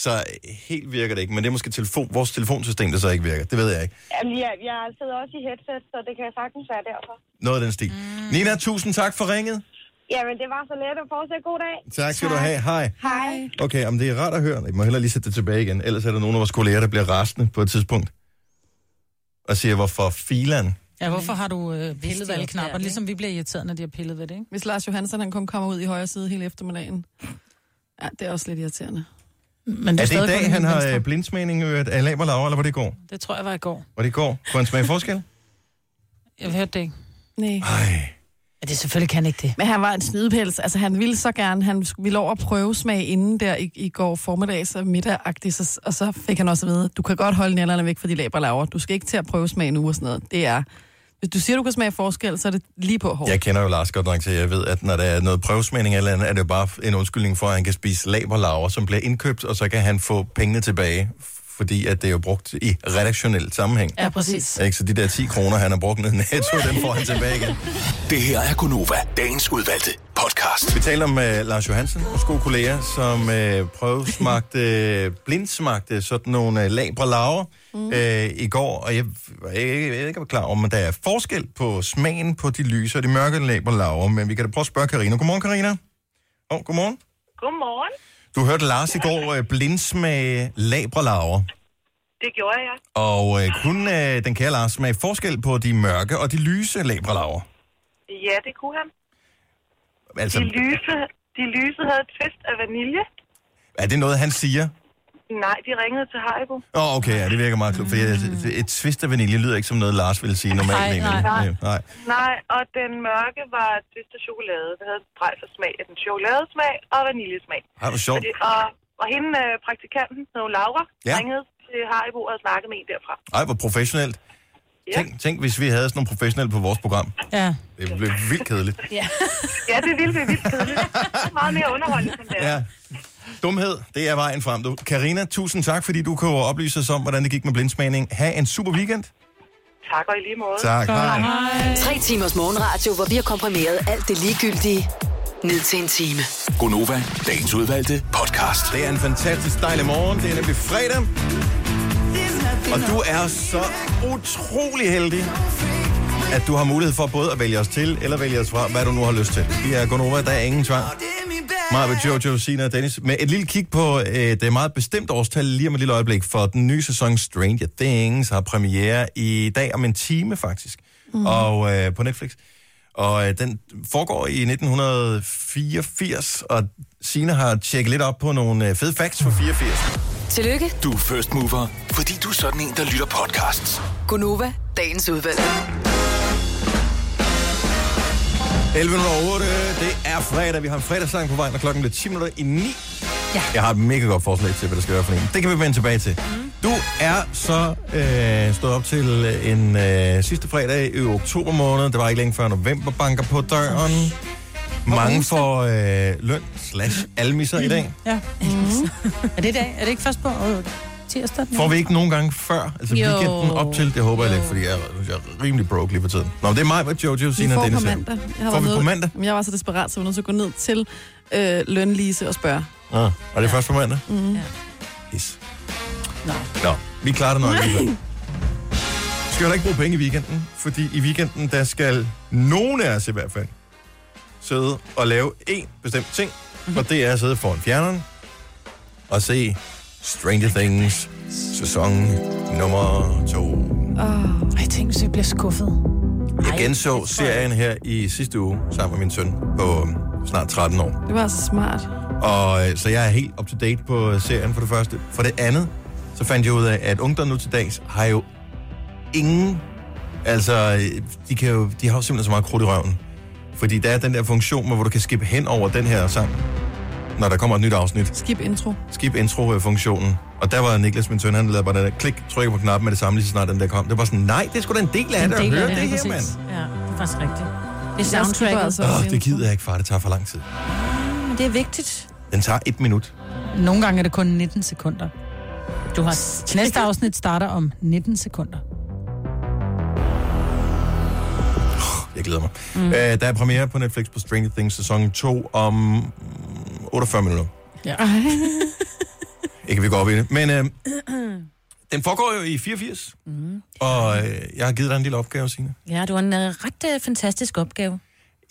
Speaker 1: Så øh, helt virker det ikke, men det er måske telefon, vores telefonsystem, der så ikke virker. Det ved jeg ikke.
Speaker 9: Jamen, jeg, jeg sidder også i headset, så det kan sagtens være derfor.
Speaker 1: Noget af den stil. Mm. Nina, tusind tak for ringet.
Speaker 9: Jamen, det var så let at fortsætte god dag.
Speaker 1: Tak skal du have. Hej. Hej. Okay, om det er rart at høre. Jeg må hellere lige sætte det tilbage igen. Ellers er der nogen af vores kolleger, der bliver rasende på et tidspunkt. Og siger, hvorfor filan?
Speaker 3: Ja, hvorfor har du øh, pillet
Speaker 2: de
Speaker 3: ved alle
Speaker 2: opdager
Speaker 3: knapper?
Speaker 2: det,
Speaker 3: Ligesom vi bliver irriteret, når de har pillet ved det, ikke?
Speaker 4: Hvis Lars Johansson han kun kommer ud i højre side hele eftermiddagen. Ja, det er også lidt irriterende.
Speaker 3: Men du
Speaker 1: Er det i
Speaker 3: stadig
Speaker 1: dag,
Speaker 3: kun
Speaker 1: han
Speaker 3: den
Speaker 1: har
Speaker 3: venstre.
Speaker 1: øh, blindsmagning øret af lav og lav, eller var det i går?
Speaker 3: Det tror jeg var i går.
Speaker 1: Var det i går? Kunne han smage forskel?
Speaker 3: Jeg hørte det ikke.
Speaker 4: Nej.
Speaker 1: Ej.
Speaker 3: Ja, det selvfølgelig kan ikke det.
Speaker 4: Men han var en snydepels. Altså, han ville så gerne, han sk- ville over at prøve smag inden der i, i går formiddags og middagagtigt, så, og så fik han også at vide, du kan godt holde nælderne væk fra de læber laver. Du skal ikke til at prøve smag nu og sådan noget. Det er, hvis du siger, du kan smage forskel, så er det lige på hårdt.
Speaker 1: Jeg kender jo Lars godt nok til, at jeg ved, at når der er noget prøvesmagning eller andet, er det jo bare en undskyldning for, at han kan spise laberlaver, som bliver indkøbt, og så kan han få pengene tilbage, fordi at det er jo brugt i redaktionel sammenhæng.
Speaker 3: Ja, præcis.
Speaker 1: Ikke? Så de der 10 kroner, han har brugt ned i netto, dem får han tilbage igen.
Speaker 6: Det her er Gunova, dagens udvalgte podcast.
Speaker 1: Vi taler om uh, Lars Johansen, vores gode øh, kollega, som uh, prøvesmagte, blindsmagte sådan nogle uh, labralaver, mm. øh, i går, og jeg, var ikke- jeg, ved ikke, om jeg var klar over, men der er forskel på smagen på de lyse og de mørke læber, Laura, men vi kan da prøve at spørge Karina. Godmorgen, Karina. Åh, oh, godmorgen.
Speaker 9: Godmorgen.
Speaker 1: Du hørte Lars i går øh, blindsmage labre, Laura,
Speaker 9: Det gjorde jeg.
Speaker 1: og øh, kunne øh, den kære Lars smage forskel på de mørke og de lyse labre, Laura?
Speaker 9: Ja, det kunne han.
Speaker 1: Altså,
Speaker 9: De lyse, de lyse havde et twist af vanilje.
Speaker 1: er det noget, han siger?
Speaker 9: Nej, de ringede til Haribo.
Speaker 1: Åh, oh, okay, ja, det virker meget klogt, for jeg- et twist af vanilje lyder ikke som noget, Lars ville sige normalt.
Speaker 3: Nej,
Speaker 1: egentlig.
Speaker 3: nej.
Speaker 1: Øh, nej.
Speaker 9: Nej, og den mørke var et twist af chokolade. Det havde drej for smag af den chokoladesmag og vaniljesmag.
Speaker 1: Ej, hvor sjovt.
Speaker 9: Fordi, og, og hende, øh, praktikanten, hed hun Laura,
Speaker 1: Ja.
Speaker 9: ja. ringede til Haribo og snakkede med en derfra.
Speaker 1: Ej, hvor professionelt.
Speaker 9: Ja.
Speaker 1: Tænk, tænk, hvis vi havde sådan nogle professionelle på vores program.
Speaker 3: Ja.
Speaker 1: Det blev vildt kedeligt.
Speaker 9: Ja, det er vildt, det er vildt kedeligt. Det er meget mere underholdende, som det er.
Speaker 1: Ja. Dumhed, det er vejen frem. Du. Karina, tusind tak, fordi du kunne oplyse os om, hvordan det gik med blindsmagning. Ha' en super weekend.
Speaker 9: Tak og i lige måde.
Speaker 1: Tak. Hej.
Speaker 5: Tre timers morgenradio, hvor vi har komprimeret alt det ligegyldige ned til en time.
Speaker 6: Gonova, dagens udvalgte podcast.
Speaker 1: Det er en fantastisk dejlig morgen. Det er nemlig fredag. Og du er så utrolig heldig, at du har mulighed for både at vælge os til eller vælge os fra, hvad du nu har lyst til. Vi er Gonova, der er ingen tvang. Maja, Jojo, Sina og Dennis. Med et lille kig på øh, det meget bestemt årstal lige om et lille øjeblik, for den nye sæson Stranger Things har premiere i dag om en time faktisk, mm. og øh, på Netflix. Og øh, den foregår i 1984, og Sina har tjekket lidt op på nogle øh, fede facts fra 84.
Speaker 5: Tillykke,
Speaker 6: Du er first mover, fordi du er sådan en, der lytter podcasts.
Speaker 5: Gunova, dagens udvalg.
Speaker 1: 11.08, det er fredag. Vi har en fredagssang på vej, når klokken bliver 10 minutter i 9. Ja. Jeg har et mega godt forslag til, hvad der skal være for en. Det kan vi vende tilbage til.
Speaker 4: Mhm.
Speaker 1: Mm. Du er så øh, stået op til en øh, sidste fredag i oktober måned. Det var ikke længe før november banker på døren. Mange får øh, løn slash almisser i dag.
Speaker 4: Mhm.
Speaker 3: ja. er det i dag? Er det ikke først på øh, tirsdag? den
Speaker 1: Får vi ikke nogen gange før? Altså
Speaker 2: Jo.
Speaker 1: weekenden op til, det håber jeg ikke, fordi jeg, er- jeg er rimelig broke lige for tiden. Nå, det er mig, hvad Jojo,
Speaker 4: Vi
Speaker 1: Sina og
Speaker 4: får
Speaker 1: Dennis.
Speaker 4: på
Speaker 1: her.
Speaker 4: mandag. Jeg har
Speaker 1: Får
Speaker 4: været
Speaker 1: vi
Speaker 4: nede-
Speaker 1: på mandag?
Speaker 4: Jamen, Jeg var så desperat, så jeg var nødt til at gå ned til øh, lønlise og spørge.
Speaker 1: Ah, og det er først på mandag? Mm.
Speaker 2: Ja.
Speaker 1: Yes. Nå. Nå, vi klarer det nok alligevel. Vi skal heller ikke bruge penge i weekenden, fordi i weekenden, der skal nogen af os i hvert fald sidde og lave én bestemt ting, og det er at sidde foran fjerneren og se Stranger Things sæson nummer 2.
Speaker 3: Ej, jeg tænkte, vi bliver skuffet.
Speaker 1: Jeg genså serien her i sidste uge sammen med min søn på snart 13 år.
Speaker 4: Det var altså smart.
Speaker 1: Og øh, så jeg er helt up to date på øh, serien for det første. For det andet, så fandt jeg ud af, at ungdom nu til dags har jo ingen... Altså, øh, de, kan jo, de har jo simpelthen så meget krudt i røven. Fordi der er den der funktion, med, hvor du kan skippe hen over den her sang, når der kommer et nyt afsnit.
Speaker 4: Skip intro.
Speaker 1: Skip intro-funktionen. Og der var Niklas, min søn, han lavede bare den der klik, trykker på knappen med det samme, lige så snart den der kom. Det var sådan, nej, det er sgu da en del af det, at høre det, her, mand.
Speaker 2: Ja, det er faktisk rigtigt. Det er
Speaker 4: Jeg skipper
Speaker 2: soundtracket,
Speaker 4: altså
Speaker 1: Åh,
Speaker 4: også
Speaker 1: oh, det
Speaker 4: intro.
Speaker 1: gider jeg ikke, far. Det tager for lang tid.
Speaker 2: men det er vigtigt.
Speaker 1: Den tager et minut.
Speaker 3: Nogle gange er det kun 19 sekunder.
Speaker 2: Du har...
Speaker 3: Næste afsnit starter om 19 sekunder.
Speaker 1: Jeg glæder mig. Mm. Øh, der er premiere på Netflix på Stranger Things sæson 2 om mm, 48 minutter.
Speaker 4: Ej,
Speaker 1: Ikke, at vi går op i det. Men øh, den foregår jo i 84. Mm. Og øh, jeg har givet dig en lille opgave, Signe.
Speaker 2: Ja, du har en øh, ret øh, fantastisk opgave.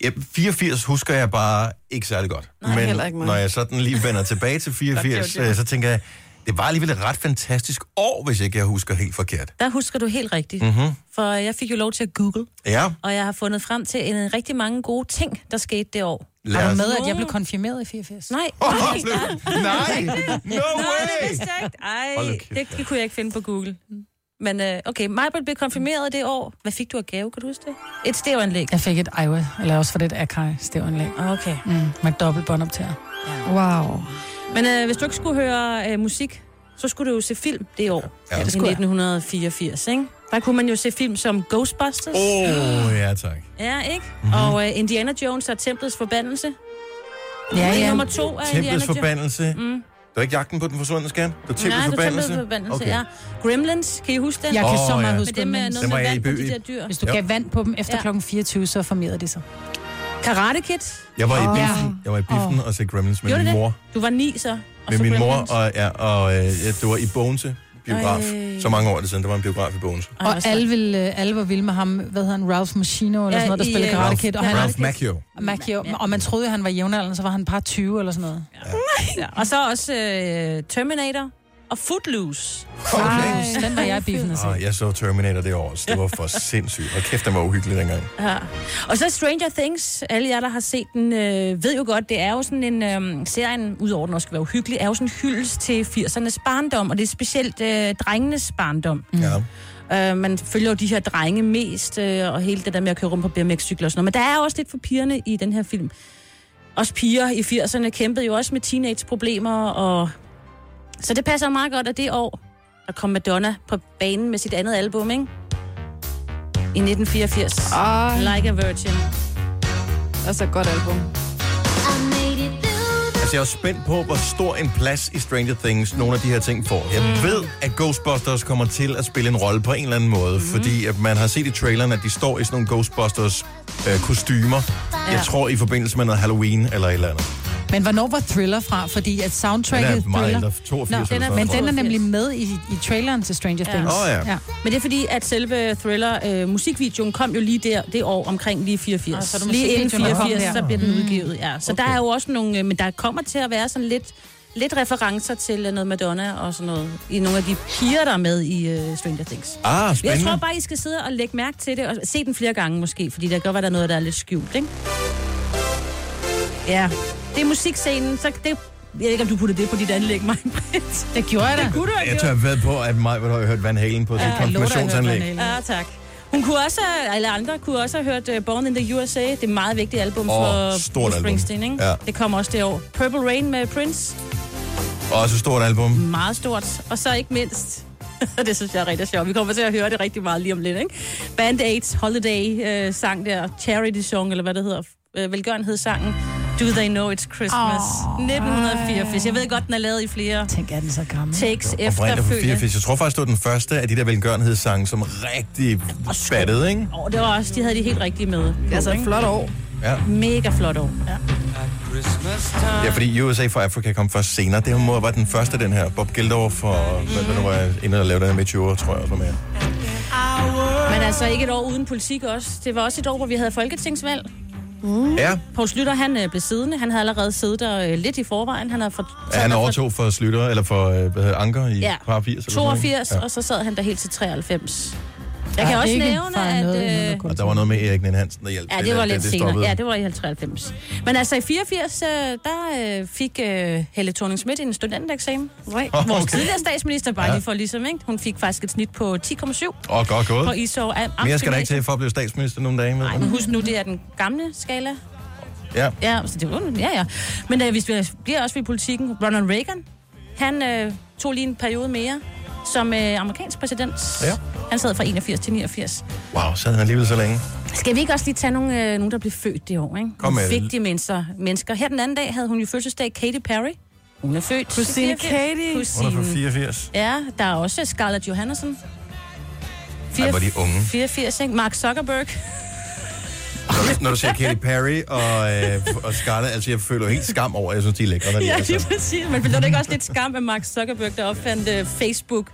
Speaker 1: Ja, 84 husker jeg bare ikke særlig godt. Nej, Men
Speaker 4: heller ikke mig.
Speaker 1: når jeg sådan lige vender tilbage til 84, øh, så tænker jeg, det var alligevel et ret fantastisk år, hvis ikke jeg husker helt forkert.
Speaker 2: Der husker du helt rigtigt.
Speaker 1: Mhm.
Speaker 2: Mm-hmm. For jeg fik jo lov til at google,
Speaker 1: Ja,
Speaker 2: og jeg har fundet frem til en, øh, rigtig mange gode ting, der skete det år.
Speaker 1: lad
Speaker 3: Er du
Speaker 1: os...
Speaker 3: med, at jeg blev konfirmeret i 84?
Speaker 2: Nej,
Speaker 1: Åh,
Speaker 2: nej,
Speaker 1: blev- Nej! No
Speaker 2: nej,
Speaker 1: way!
Speaker 2: det er
Speaker 1: Hold da
Speaker 2: Ej,
Speaker 1: kæft,
Speaker 2: det,
Speaker 1: mand.
Speaker 2: det kunne jeg ikke finde på Google. Men øh, okay, Majbert blev konfirmeret det år. Hvad fik du af gave, kan du huske det? Et stævanlæg.
Speaker 3: Jeg fik et Iowa, eller også for det et Akai stævanlæg.
Speaker 2: Ah, Okay.
Speaker 3: Mm, med dobbelt båndoptager.
Speaker 4: wow.
Speaker 2: Men øh, hvis du ikke skulle høre øh, musik, så skulle du jo se film det år.
Speaker 1: Ja, det
Speaker 2: I
Speaker 3: skulle jeg.
Speaker 2: 1984, ikke? Der kunne man jo se film som Ghostbusters.
Speaker 1: Åh, oh, ja tak.
Speaker 2: Ja, ikke?
Speaker 1: Mhm.
Speaker 2: Mm-hmm. Og øh, Indiana Jones og Templets Forbandelse.
Speaker 3: Ja,
Speaker 2: Det er
Speaker 3: ja.
Speaker 2: nummer to af Indiana
Speaker 1: Templets
Speaker 2: Jones.
Speaker 1: forbandelse. Mm. Det var ikke jagten på den forsvundne skat? Det var
Speaker 2: Nej,
Speaker 1: Templets
Speaker 2: det var
Speaker 1: forbandelse?
Speaker 2: Templets Forbandelse, okay. ja. Gremlins, kan I huske den?
Speaker 3: Jeg kan
Speaker 1: Åh,
Speaker 3: så
Speaker 1: ja.
Speaker 3: meget
Speaker 2: Med øh,
Speaker 3: huske
Speaker 2: det med
Speaker 3: Gremlins.
Speaker 2: noget
Speaker 1: var
Speaker 2: med
Speaker 1: jeg i
Speaker 2: vand på de
Speaker 1: byen.
Speaker 2: der dyr.
Speaker 3: Hvis du
Speaker 1: Jo.
Speaker 3: gav vand på dem efter
Speaker 2: Ja.
Speaker 3: klokken 24, så formerede de sig.
Speaker 2: Karate Kid,
Speaker 1: Jeg var i
Speaker 4: Åh.
Speaker 1: biffen, jeg var i biffen og se Gremlins med
Speaker 2: Gjorde
Speaker 1: min
Speaker 2: det?
Speaker 1: mor.
Speaker 2: du var ni så. og
Speaker 1: Med
Speaker 2: så
Speaker 1: min mor,
Speaker 2: Gremlins.
Speaker 1: og, ja, og øh, ja, det var i Bonse biograf.
Speaker 2: Ej.
Speaker 1: Så mange år er det siden, der var en biograf i Bogense.
Speaker 2: Ej, hvor
Speaker 3: Og
Speaker 2: sejt.
Speaker 3: alle, vil, øh, alle var vilde med ham, hvad hedder han, Ralph Machino eller
Speaker 2: Ja,
Speaker 3: sådan noget, der
Speaker 2: i,
Speaker 3: spiller
Speaker 2: øh,
Speaker 3: Karate
Speaker 1: Ralph-
Speaker 3: Kid. Og, han,
Speaker 1: Ralph Macchio.
Speaker 3: Macchio, og man troede, at han var jævnaldrende, så var han par 20 eller sådan noget.
Speaker 2: Ja. Og så også øh, Terminator og Footloose.
Speaker 1: Okay.
Speaker 3: Så den var jeg i biffen og se.
Speaker 1: Ah, jeg så Terminator det år, så det var for sindssygt. Og kæft, den var uhyggelig dengang.
Speaker 2: Ja. Og så Stranger Things. Alle jer, der har set den, øh, ved jo godt, det er jo sådan en... Øh, serien, udover den også skal være uhyggelig, er jo sådan en hyldest til 80'ernes barndom, og det er specielt øh, drengenes barndom. Mm.
Speaker 1: Ja.
Speaker 2: Øh, man følger jo de her drenge mest, øh, og hele det der med at køre rundt på BMX-cykler og sådan noget. Men der er også lidt for pigerne i den her film. Også piger i 80'erne kæmpede jo også med teenage-problemer, og... Så det passer meget godt, at det år, der kom Madonna på banen med sit andet album, ikke? I 1984.
Speaker 4: Ej.
Speaker 2: Like a Virgin.
Speaker 4: Altså et godt album.
Speaker 1: Altså, jeg er jo spændt på, hvor stor en plads i Stranger Things nogle af de her ting får. Jeg ved, at Ghostbusters kommer til at spille en rolle på en eller anden måde, fordi at man har set i traileren, at de står i sådan nogle Ghostbusters-kostymer. Jeg tror, i forbindelse med noget Halloween eller et eller andet.
Speaker 3: Men hvornår var Thriller fra? Fordi at soundtracket
Speaker 1: Den er meget
Speaker 3: Thriller...
Speaker 1: ældre, 82 eller
Speaker 3: Nå, den er,
Speaker 1: sådan
Speaker 3: men
Speaker 1: noget,
Speaker 3: den er
Speaker 2: tror jeg.
Speaker 3: nemlig med i, i traileren til Stranger Things.
Speaker 1: Åh, ja.
Speaker 2: Men det er fordi, at selve Thriller-musikvideoen kom jo lige der, det år omkring lige 84.
Speaker 3: Ah, så er Mm. det
Speaker 2: lige inden
Speaker 3: musikvideoen, der kom
Speaker 2: 84,
Speaker 3: der.
Speaker 2: så bliver den udgivet, ja. Så okay. der er jo også nogle... øh, Men der kommer til at være sådan lidt, lidt referencer til øh, noget Madonna og sådan noget. I nogle af de piger, der er med i uh, Stranger Things.
Speaker 1: Ah,
Speaker 2: Jeg tror
Speaker 1: spændende.
Speaker 2: bare, I skal sidde og lægge mærke til det, og se den flere gange måske, fordi der kan godt være, der er noget, der er lidt skjult, ikke? Ja, det er musikscenen, så det... Jeg ved ikke, om du putter det på dit anlæg, mig.
Speaker 3: Det gjorde jeg da.
Speaker 2: Kunne du ikke?
Speaker 1: Jeg tør ved på, at mig har hørt Van Halen på sit
Speaker 3: Jeg lover dig, jeg hørte
Speaker 1: konfirmationsanlæg.
Speaker 3: Van Halen.
Speaker 2: Ja, tak. Hun kunne også, eller andre kunne også have hørt øh, Born in the USA. Det er et meget vigtigt album
Speaker 1: Åh,
Speaker 2: for
Speaker 1: stort
Speaker 2: Bruce
Speaker 1: album.
Speaker 2: Springsteen, ikke?
Speaker 1: Ja.
Speaker 2: Det kommer også det år. Purple Rain med Prince.
Speaker 1: Også et stort album.
Speaker 2: Meget stort. Og så ikke mindst, og det synes jeg er rigtig sjovt. Vi kommer til at høre det rigtig meget lige om lidt, ikke? Band Aids Holiday øh, sang der. Charity Song, eller hvad det hedder. Øh, velgørenhedssangen. Do They Know It's Christmas. Oh, 1984. Jeg ved godt, den er lavet i flere
Speaker 3: Tænk, er den så gammel?
Speaker 2: takes
Speaker 1: Oprindeligt fra
Speaker 2: efterfølgende.
Speaker 1: 84. Jeg tror faktisk, det var den første af de der velgørenhedssange, som rigtig battede, ikke?
Speaker 2: Åh, det var også, de havde de helt rigtige med.
Speaker 4: Det er altså et flot år.
Speaker 1: Ja.
Speaker 2: Mega flot år.
Speaker 1: Ja, fordi USA for Africa kom først senere. Det her må være den første, den her. Bob Geldof for, mm. hvad nu var jeg inde og lavede den her med 20 år, tror jeg, også var med.
Speaker 2: Men altså ikke et år uden politik også. Det var også et år, hvor vi havde folketingsvalg. Mm.
Speaker 1: Ja,
Speaker 2: Poul Slytter, han øh, blev siddende. Han havde allerede siddet der øh, lidt i forvejen. Han havde fra,
Speaker 1: han overtog for Slytter, eller for øh, hvad hedder, Anker i
Speaker 2: ja,
Speaker 1: ja. par 80. Eller
Speaker 2: 82,
Speaker 1: Sådan,
Speaker 2: ja.
Speaker 1: noget,
Speaker 2: og så sad han der helt til 93. Jeg kan også
Speaker 3: Ikke
Speaker 2: nævne,
Speaker 3: fejret
Speaker 2: at...
Speaker 3: noget endnu,
Speaker 2: Øh,
Speaker 3: der går
Speaker 1: ikke? Og der var noget med Erik Nen Hansen, der hjalp.
Speaker 2: ja,
Speaker 1: til,
Speaker 2: det var
Speaker 1: at
Speaker 2: lidt senere.
Speaker 1: stoppede.
Speaker 2: Ja, det var i 93. Men altså i 84, øh, der øh, fik øh, Helle thorning en studentereksamen.
Speaker 4: Nej.
Speaker 1: Åh,
Speaker 2: Vores
Speaker 1: okay.
Speaker 2: tidligere statsminister, bare
Speaker 1: Ja.
Speaker 2: ja. lige for ligesom, ikke? Hun fik faktisk et snit på 10,7
Speaker 1: Åh, godt gået.
Speaker 2: på Isov.
Speaker 1: Mere skal der ikke til for at blive statsminister nogle dage med.
Speaker 2: Nej, men husk nu, det er den gamle skala.
Speaker 1: Ja.
Speaker 2: Ja, så det var, ja, ja. Men øh, hvis vi bliver også ved politikken, Ronald Reagan, han øh, tog lige en periode mere som øh, amerikansk præsident.
Speaker 1: Ja.
Speaker 2: Han sad fra 81 til 89.
Speaker 1: Wow, sad han alligevel så længe.
Speaker 2: Skal vi ikke også lige tage nogle, øh, nogen, der blev født det år, ikke?
Speaker 1: Kom med.
Speaker 2: Nogle Vigtige mennesker, mennesker. Her den anden dag havde hun jo fødselsdag, Katy Perry. Hun er født.
Speaker 4: Christine
Speaker 2: 84.
Speaker 4: Katy.
Speaker 1: Hun er fra
Speaker 2: Kusine.
Speaker 1: 84.
Speaker 2: Ja, der er også Scarlett Johansson.
Speaker 1: Ej, hvor er de unge.
Speaker 2: 84, ikke? Mark Zuckerberg.
Speaker 1: Når du, når du ser Katy Perry og, øh, og Scarlett, altså jeg føler jo helt skam over, at jeg synes, de er lækre, når de
Speaker 2: Ja,
Speaker 1: er altså-
Speaker 2: lige
Speaker 1: sammen.
Speaker 2: præcis. Men føler det ikke også lidt skam, at Mark Zuckerberg, der opfandt øh, Facebook,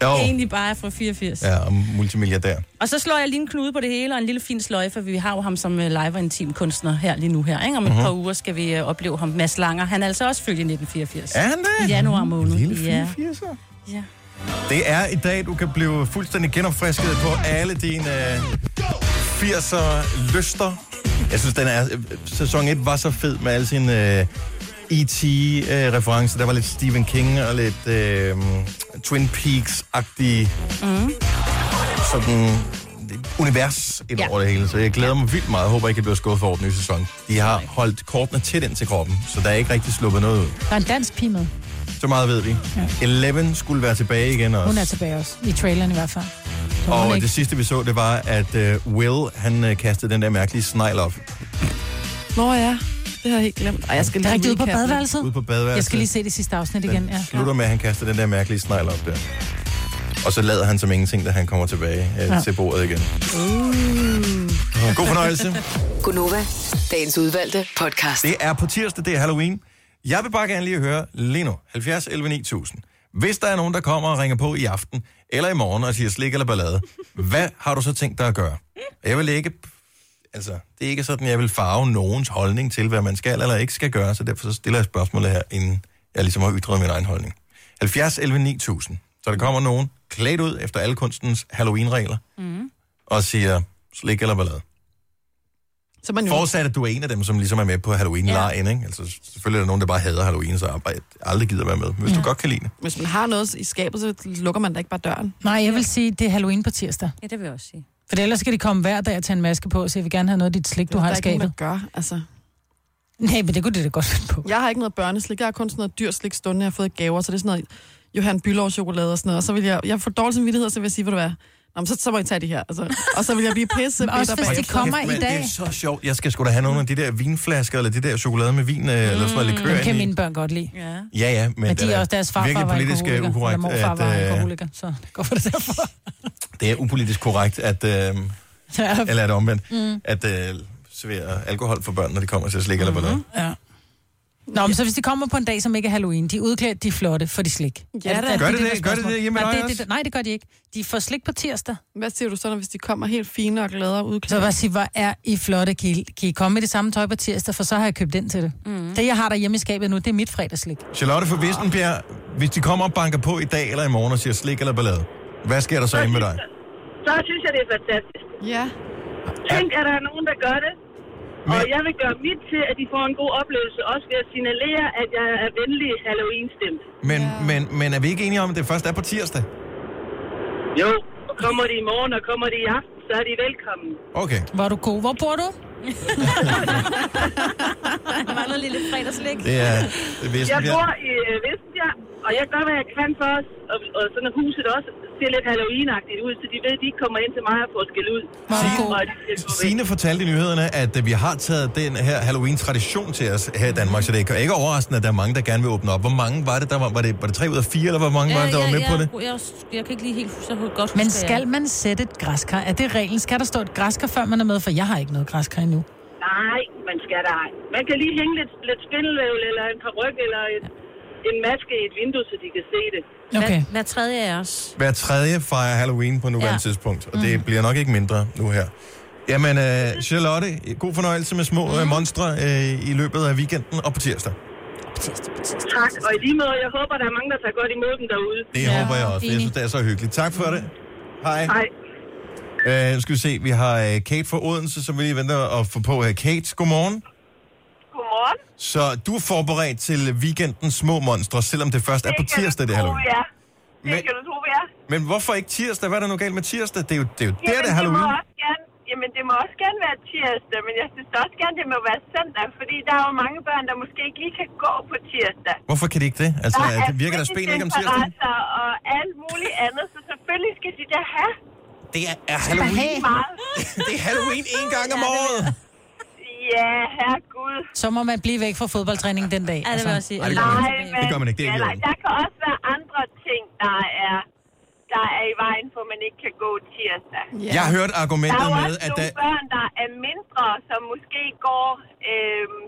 Speaker 2: oh.
Speaker 1: Jo,
Speaker 2: egentlig bare er fra 84? Ja.
Speaker 1: ja, og multimilliardær.
Speaker 2: Og så slår jeg lige en knude på det hele, og en lille fin sløjfe, for vi har jo ham som øh, live- og intimkunstner her lige nu her. Ikke? Om
Speaker 1: Mhm.
Speaker 2: et par uger skal vi øh, opleve ham. Mads Langer, han er altså også født i 1984.
Speaker 1: Er han det?
Speaker 2: I januar måned.
Speaker 1: Lille
Speaker 2: Ja.
Speaker 1: 84'er.
Speaker 2: ja.
Speaker 1: Mm, Det er i dag, du kan blive fuldstændig genopfrisket på alle dine øh, 80'er lyster. Jeg synes, den er, øh, sæson 1 var så fed med alle sine øh, E.T.-referencer. Der var lidt Stephen King og lidt øh, Twin Peaks-agtige mm. sådan, univers ind
Speaker 2: Ja.
Speaker 1: over det hele. Så jeg glæder mig vildt meget. Jeg håber, I kan blive skuffet over den nye sæson. De har holdt kortene tæt ind til kroppen, så der er ikke rigtig sluppet noget ud.
Speaker 3: Der er en dansk pige med.
Speaker 1: Så meget ved vi. Eleven skulle være tilbage igen også.
Speaker 3: Hun er tilbage også. I traileren i hvert fald. Så hun
Speaker 1: Og
Speaker 3: ikke-
Speaker 1: det sidste, vi så, det var, at øh, Will, han øh, kastede den der mærkelige snegl op
Speaker 4: Nå ja, det har jeg helt glemt. Ej, jeg skal
Speaker 3: Det er
Speaker 4: lige
Speaker 3: rigtigt ude på
Speaker 4: recappe.
Speaker 3: badeværelset.
Speaker 1: ude på badeværelset.
Speaker 3: Jeg skal lige se det sidste afsnit
Speaker 1: Den
Speaker 3: igen. Ja.
Speaker 1: slutter med, at han kaster den der mærkelige snegl op der. Og så lader han som ingenting, da han kommer tilbage øh, ja. til bordet igen. Uh. God fornøjelse.
Speaker 5: Gunova, dagens udvalgte podcast.
Speaker 1: Det er på tirsdag, det er Halloween. Jeg vil bare gerne lige høre lige nu, 70 11 9000. Hvis der er nogen, der kommer og ringer på i aften, eller i morgen og siger slik eller ballade, hvad har du så tænkt dig at gøre? Jeg vil ikke... Altså, det er ikke sådan, jeg vil farve nogens holdning til, hvad man skal eller ikke skal gøre, så derfor så stiller jeg spørgsmålet her, inden jeg ligesom har ytret min egen holdning. 70 11 9000. Så der kommer nogen klædt ud efter alle kunstens Halloween-regler
Speaker 2: Mm.
Speaker 1: og siger slik eller ballade.
Speaker 4: Så man jo...
Speaker 1: Forudsat, at du er en af dem, som ligesom er med på Halloween-lejen, ikke? Altså, selvfølgelig er der nogen, der bare hader Halloween, så bare aldrig gider være med. Men Hvis ja. du godt kan lide det.
Speaker 3: Altså,
Speaker 4: Hvis man har noget i skabet, så lukker man da ikke bare døren.
Speaker 3: Nej, jeg vil sige, det er Halloween på tirsdag.
Speaker 2: Ja, det vil jeg også sige.
Speaker 3: For ellers skal de komme hver dag og tage en maske på og sige, vi gerne have noget af dit slik, du
Speaker 4: Det er
Speaker 3: har i
Speaker 4: der ikke nogen,
Speaker 3: skabet.
Speaker 4: der gør. Altså,
Speaker 3: Nej, men det kunne det da godt finde på.
Speaker 4: jeg har ikke noget børneslik. Jeg har kun sådan noget dyrslik stående, jeg har fået i gaver, så det er sådan noget Johan Bylov chokolade og sådan noget. Og så vil jeg, jeg får dårlig samvittighed, og så vil jeg sige, hvor du er. Nå, men så, så må I tage det her. Altså. Og så vil jeg blive pisse.
Speaker 3: Men også hvis
Speaker 1: Og
Speaker 3: de
Speaker 1: jeg-
Speaker 3: kommer
Speaker 1: kæft, mand,
Speaker 3: i dag.
Speaker 1: Det er så sjovt. Jeg skal sgu da have nogle af de der vinflasker, eller det der chokolade med vin, mm. eller sådan noget likør.
Speaker 3: Dem kan
Speaker 1: ind i.
Speaker 3: mine børn godt lide.
Speaker 2: Ja.
Speaker 1: Ja, ja, men,
Speaker 3: Mm. Men
Speaker 1: det
Speaker 3: de er også deres farfar
Speaker 1: virkelig
Speaker 3: var
Speaker 1: politisk øh,
Speaker 3: alkoholiker,
Speaker 1: ukorrekt,
Speaker 3: eller morfar var
Speaker 1: at, øh,
Speaker 3: alkoholiker, så det går for det derfor.
Speaker 1: det er upolitisk korrekt, at, øh, eller er det omvendt, mm. at øh, servere alkohol for børn, når de kommer til at slik mm-hmm. eller ballade.
Speaker 3: ja. Nå, men så hvis de kommer på en dag, som ikke er Halloween, de er udklædt, de er flotte, for de slik.
Speaker 4: Ja, da.
Speaker 1: Gør det
Speaker 3: der
Speaker 1: det? Gør det
Speaker 3: spørgsmål?
Speaker 1: det hjemme
Speaker 3: Nej,
Speaker 1: ved dig
Speaker 3: det,
Speaker 1: også?
Speaker 3: det, nej, det gør de ikke. De får slik på tirsdag.
Speaker 4: Hvad siger du så, når hvis de kommer helt fine og
Speaker 3: Så
Speaker 4: glade og
Speaker 3: jeg vil
Speaker 4: udklædt?
Speaker 3: bare sige, hvor er I flotte, kan I, kan I komme med det samme tøj på tirsdag, for så har jeg købt ind til det.
Speaker 2: Mhm.
Speaker 3: Mm. Det, jeg har derhjemme i skabet nu, det er mit fredagslik.
Speaker 1: Charlotte fra Vissenbjerg, hvis de kommer og banker på i dag eller i morgen og siger slik eller ballade, hvad sker der så hjemme med dig?
Speaker 9: Så synes jeg, det er fantastisk.
Speaker 4: Ja.
Speaker 9: Tænk, at der er nogen, der gør det. Og
Speaker 1: Men-
Speaker 9: jeg vil gøre mit til, at de får en god oplevelse, også ved at signalere, at jeg er venlig Halloween-stemt.
Speaker 1: Men, men, men er vi ikke enige om, at det først er på tirsdag?
Speaker 9: Jo, og kommer de i morgen, og kommer de i aften, så er de velkommen.
Speaker 1: Okay.
Speaker 3: Hvor er du god? Hvor bor du?
Speaker 2: Der mangler lille fredagslæg.
Speaker 1: Det er det er
Speaker 9: Jeg bor
Speaker 1: Vissenbjerg.
Speaker 9: i øh, Vestbjerg, og jeg gør, hvad jeg kan for os, og, og sådan at huset også ser lidt halloween ud, så de ved, at de ikke kommer ind til mig og får skæld ud.
Speaker 3: Hvor er du god?
Speaker 9: Og de skal gå væk.
Speaker 1: Signe fortalte i nyhederne, at øh, vi har taget den her Halloween-tradition til os her i Danmark, så det er ikke overraskende, at der er mange, der gerne vil åbne op. Hvor mange var det, der var? Var det, var det 3 ud af 4, eller hvor mange var det, der var med på det?
Speaker 2: Jeg, jeg, jeg kan ikke lige helt så godt huske, hvad
Speaker 3: Men
Speaker 2: jeg-
Speaker 3: skal man sætte et græskar? Er det reglen? Skal der stå et græskar, før man er med? For jeg har ikke noget græskar endnu.
Speaker 9: Nej, man skal da ej. Man kan lige hænge lidt, lidt spindelvæv, eller en paryk, eller et, en maske i et vindue, så de kan se det.
Speaker 3: Okay.
Speaker 2: Hver, hver tredje af os.
Speaker 1: Hver tredje fejrer Halloween på nuværende ja. Mm.
Speaker 2: Ja.
Speaker 1: tidspunkt, og det bliver nok ikke mindre nu her. Jamen, øh, Charlotte, god fornøjelse med små øh, monstre øh, i løbet af weekenden og på tirsdag.
Speaker 9: Tak, og i lige måde, jeg håber, der er mange, der tager godt imod dem derude.
Speaker 1: Det ja, håber jeg også, for jeg synes, det er så hyggeligt. Tak for det. Hej.
Speaker 9: Hej.
Speaker 1: Øh, nu skal vi se, vi har øh, Kate fra Odense, som vi lige venter at få på her. Kate, godmorgen.
Speaker 9: Godmorgen.
Speaker 1: Så du er forberedt til weekendens små monstre, selvom det først er på tirsdag, det er Halloween.
Speaker 9: Ja.
Speaker 1: Men,
Speaker 9: du tro, vi er.
Speaker 1: men hvorfor ikke tirsdag? Hvad er der nu galt med tirsdag? Det er jo, det er jo der, det er Halloween.
Speaker 9: Det må også gerne, jamen, det må også gerne være tirsdag, men jeg synes også gerne, det må være søndag, fordi der er jo mange børn, der måske ikke lige kan gå på tirsdag.
Speaker 1: Hvorfor kan det ikke det? Altså,
Speaker 9: Der
Speaker 1: det virker der spil ikke om tirsdag?
Speaker 9: fritidsinteresser og alt muligt andet, så selvfølgelig skal de da have
Speaker 1: Det er, er Halloween.
Speaker 9: meget.
Speaker 1: Det er Halloween en gang om året.
Speaker 9: Ja, herregud.
Speaker 3: Så må man blive væk fra fodboldtræning den dag. altså.
Speaker 2: Ja, det vil jeg også sige.
Speaker 1: Ej, Altså, det gør man
Speaker 9: Nej,
Speaker 1: ikke.
Speaker 9: men,
Speaker 1: Det gør man ikke. Det er ikke i
Speaker 9: eller,
Speaker 1: orden.
Speaker 9: der kan også være andre ting, der er, der er i vejen for, at man ikke kan gå tirsdag.
Speaker 4: Ja.
Speaker 1: Jeg hørte
Speaker 9: Der er
Speaker 1: argumentet
Speaker 9: jo
Speaker 1: med,
Speaker 9: også
Speaker 1: at
Speaker 9: nogle
Speaker 1: der...
Speaker 9: børn, der er mindre, som måske går øhm,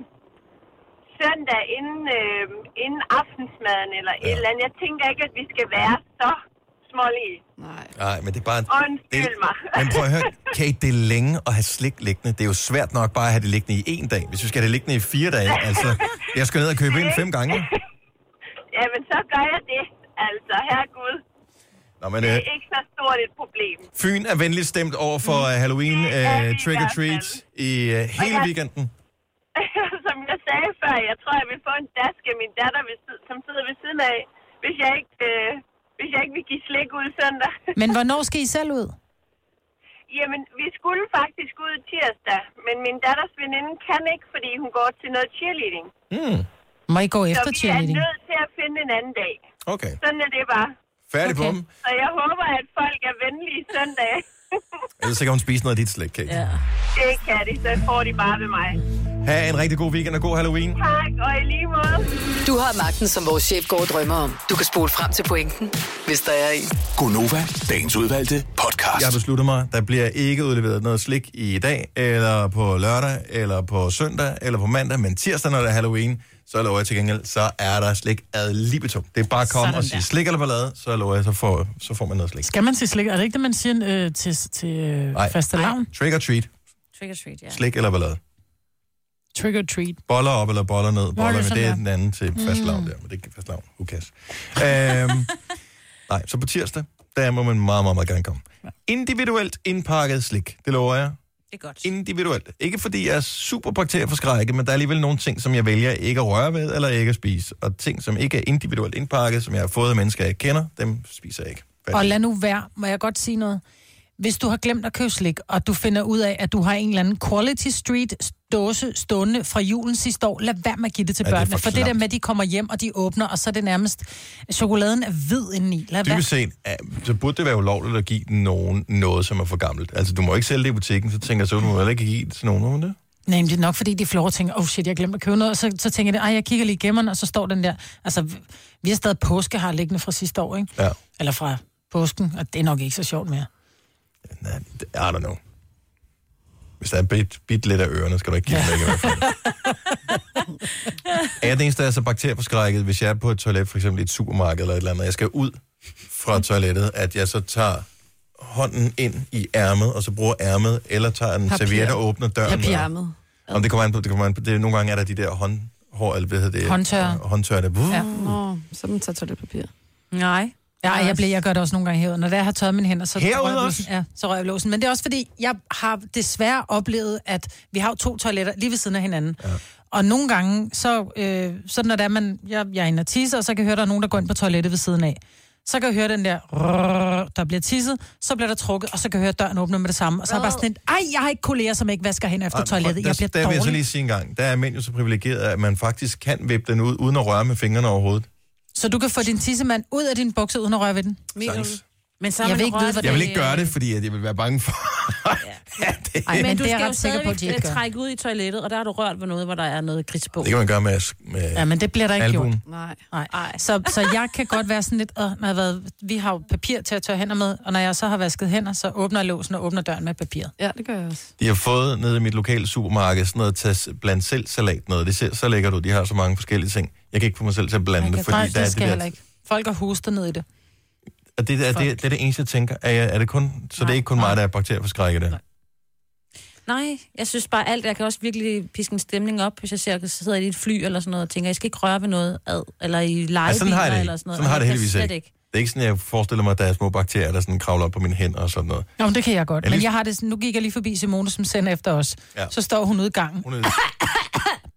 Speaker 9: søndag inden, øhm, inden aftensmaden eller ja. et eller andet. Jeg tænker ikke, at vi skal være så smålige.
Speaker 4: Nej.
Speaker 1: Nej, men det er bare...
Speaker 9: Undskyld mig.
Speaker 1: men prøv at høre, Kate, det er længe at have slik liggende. Det er jo svært nok bare at have det liggende i én dag, hvis vi skal have det liggende i fire dage. Altså, jeg skal ned og købe ind fem gange.
Speaker 9: Jamen, så gør jeg det. Altså, herregud.
Speaker 1: Nå, men
Speaker 9: Det
Speaker 1: øh,
Speaker 9: er ikke så stort et problem.
Speaker 1: Fyn er venligt stemt over for øh, Halloween
Speaker 9: Det er vi
Speaker 1: øh,
Speaker 9: i
Speaker 1: trick-or-treat
Speaker 9: hvert
Speaker 1: i øh, hele
Speaker 9: jeg-
Speaker 1: weekenden.
Speaker 9: Som jeg sagde før, jeg tror, jeg vil få en dask af min datter, ved sid- som sidder ved siden af, hvis jeg ikke, øh, hvis jeg ikke vil give slik ud søndag.
Speaker 3: Men hvornår skal I selv ud?
Speaker 9: Jamen, vi skulle faktisk ud tirsdag, men min datters veninde kan ikke, fordi hun går til noget cheerleading.
Speaker 3: Må I gå
Speaker 9: Så
Speaker 3: efter
Speaker 9: vi er
Speaker 3: cheerleading?
Speaker 9: nødt til at finde en anden dag.
Speaker 1: Okay,
Speaker 9: Sådan er det bare.
Speaker 1: færdig okay. på
Speaker 3: Okay.
Speaker 1: dem.
Speaker 9: Så jeg håber, at folk er venlige søndag.
Speaker 1: Ellers så kan hun spise noget af dit slik, Kate. Ja.
Speaker 9: det kan de, så får de bare ved mig.
Speaker 1: Ha' en rigtig god weekend og god Halloween.
Speaker 9: Tak, og i lige måde.
Speaker 5: Du har magten, som vores chef går og drømmer om. Du kan spole frem til pointen, hvis der er en.
Speaker 6: Gonova, dagens udvalgte podcast.
Speaker 1: Jeg har besluttet mig, der bliver ikke udleveret noget slik i dag, eller på lørdag, eller på søndag, eller på mandag, men tirsdag, når det er Halloween, så lover jeg til gengæld, så er der slik ad libitum. Det er bare at komme
Speaker 2: Sådan
Speaker 1: og sige
Speaker 2: der.
Speaker 1: slik eller ballade, så lover jeg, så får, så får man noget slik.
Speaker 3: Skal man sige slik? Er det ikke det, man siger øh, til, til øh,
Speaker 1: Nej.
Speaker 3: faste lavn?
Speaker 1: Trick or treat,
Speaker 2: Trick or treat, ja.
Speaker 1: slik eller ballade.
Speaker 3: Trick or treat.
Speaker 1: Boller op eller boller ned. Boller,
Speaker 3: det er
Speaker 1: men det er
Speaker 3: sådan Mm.
Speaker 1: den anden til fastlavn der, men det er ikke fastlavn. Who cares? Øhm, nej, så på tirsdag, der må man meget, meget, meget gerne komme. Individuelt indpakket slik, det lover jeg.
Speaker 2: Det er godt.
Speaker 1: Individuelt. Ikke fordi jeg er super bakterieforskrækket, men der er alligevel nogle ting, som jeg vælger ikke at røre ved eller ikke at spise. Og ting, som ikke er individuelt indpakket, som jeg har fået af mennesker, jeg kender, dem spiser jeg ikke.
Speaker 3: Og lad nu være, må jeg godt sige noget? Hvis du har glemt at købe slik, og du finder ud af, at du har en eller anden Quality Street dåse stående fra julen sidste år, lad være med at give det til
Speaker 1: Ja, det er for
Speaker 3: børnene. for det der
Speaker 1: klamt.
Speaker 3: med, at de kommer hjem, og de åbner, og så er det nærmest... Chokoladen er hvid indeni. Lad være.
Speaker 1: Dybest set, ja, så burde det være ulovligt at give nogen noget, som er for gammelt. Altså, du må ikke sælge det i butikken, så tænker jeg, så du må heller ikke give det til nogen, må man det?
Speaker 3: Nej, men det er nok, fordi de flår og tænker, oh shit, jeg glemte at købe noget. Og så, så tænker de, ej, jeg kigger lige igennem, den, og så står den der. Altså, vi- vi har stadig påskehar liggende fra sidste år, ikke?
Speaker 1: Ja.
Speaker 3: Eller fra påsken, og det er nok ikke så sjovt mere.
Speaker 1: Nej, det- I don't know. Hvis der er bit, bit lidt af ørerne, skal du ikke give dem væk i hvert fald. Er jeg den eneste, der er så bakterieforskrækket, hvis jeg er på et toilet, for eksempel i et supermarked eller et eller andet, og jeg skal ud fra toilettet, at jeg så tager hånden ind i ærmet, og så bruger ærmet, eller tager en
Speaker 3: Papir.
Speaker 1: serviet og åbner døren. med-
Speaker 4: Papirarmet.
Speaker 1: Om det kommer an på, det kommer an på. Det, er- nogle gange er der de der håndhår, eller hvad hedder det?
Speaker 3: Håndtørre.
Speaker 1: Håndtørre, der. Ja.
Speaker 4: Nå, så man tager toiletpapir.
Speaker 2: Nej.
Speaker 3: Ja, jeg, bliver, jeg gør det også nogle gange herude. Når jeg har tørret mine hænder, så
Speaker 1: Herude
Speaker 3: rører jeg
Speaker 1: også?
Speaker 3: låsen. Ja, så rører jeg låsen. Men det er også fordi, jeg har desværre oplevet, at vi har jo to toiletter lige ved siden af hinanden. Ja. Og nogle gange, så, øh, så når der man, jeg, jeg er inde og tisse, og så kan jeg høre, der er nogen, der går ind på toilettet ved siden af. Så kan jeg høre den der, rrrr, der bliver tisset, så bliver der trukket, og så kan jeg høre døren åbne med det samme. Og så er jeg bare sådan en, ej, jeg har ikke kolleger, som ikke vasker hen efter toilettet. Jeg
Speaker 1: der,
Speaker 3: bliver
Speaker 1: der vil jeg så
Speaker 3: dårlig.
Speaker 1: lige sige en gang. Der er mænd jo så privilegeret, at man faktisk kan vippe den ud, uden at røre med fingrene overhovedet.
Speaker 3: Så du kan få din tissemand ud af din bukse, uden at røre ved den.
Speaker 1: Sans.
Speaker 2: Men så har
Speaker 3: Jeg
Speaker 2: man
Speaker 3: vil ikke
Speaker 2: rørt
Speaker 3: vide, hvordan-
Speaker 2: ved-
Speaker 1: Jeg vil ikke gøre det, fordi at jeg vil være bange for... ja, det,
Speaker 3: Ej,
Speaker 2: Men, du
Speaker 3: det er
Speaker 2: skal
Speaker 3: jeg
Speaker 2: jo
Speaker 3: ret sikker på, at de
Speaker 2: stadigvæk
Speaker 3: ikke øh, gør.
Speaker 2: trække ud i toilettet, og der har du rørt ved noget, hvor der er noget kridt på.
Speaker 1: det kan man gøre med, med
Speaker 3: Ja, men det bliver der ikke gjort.
Speaker 1: albuen.
Speaker 4: Nej.
Speaker 3: Nej. Så, så jeg kan godt være sådan lidt, øh, når jeg har været, vi har jo papir til at tørre hænder med, og når jeg så har vasket hænder, så åbner jeg låsen og åbner døren med papiret.
Speaker 4: Ja, det gør jeg også.
Speaker 1: De har fået nede i mit lokale supermarked sådan noget til blandt selv salat noget. Det ser så lækkert ud. De har så mange forskellige ting. Jeg kan ikke få mig selv til at blande
Speaker 3: Jeg
Speaker 1: det,
Speaker 3: kan,
Speaker 1: fordi
Speaker 3: nej,
Speaker 1: der er
Speaker 3: det
Speaker 1: det
Speaker 3: skal jeg heller
Speaker 1: der...
Speaker 3: ikke. Folk har hostet ned i det.
Speaker 1: Og det, er, det, det er det eneste, jeg tænker. Er, jeg, er det kun, så det er ikke kun mig, der er bakterieforskrækket der.
Speaker 2: Nej, jeg synes bare alt, jeg kan også virkelig piske en stemning op, hvis jeg ser, at jeg sidder i et fly eller sådan noget, og tænker, jeg skal ikke røre ved noget ad, eller i lejebiler
Speaker 1: Ja, Altså, sådan har jeg det
Speaker 2: eller
Speaker 1: ikke.
Speaker 2: sådan noget.
Speaker 1: Sådan
Speaker 2: Altså,
Speaker 1: har jeg det
Speaker 2: kan
Speaker 1: heldigvis
Speaker 2: slet
Speaker 1: ikke. Det er ikke sådan, jeg forestiller mig, at der er små bakterier, der sådan kravler op på mine hænder og sådan noget.
Speaker 3: Nå, men det kan jeg godt.
Speaker 1: Jeg er
Speaker 3: Men
Speaker 1: lige-
Speaker 3: jeg har det sådan, nu gik jeg lige forbi Simone, som sender efter os.
Speaker 1: Ja.
Speaker 3: Så står hun ude i gangen,
Speaker 1: Hun er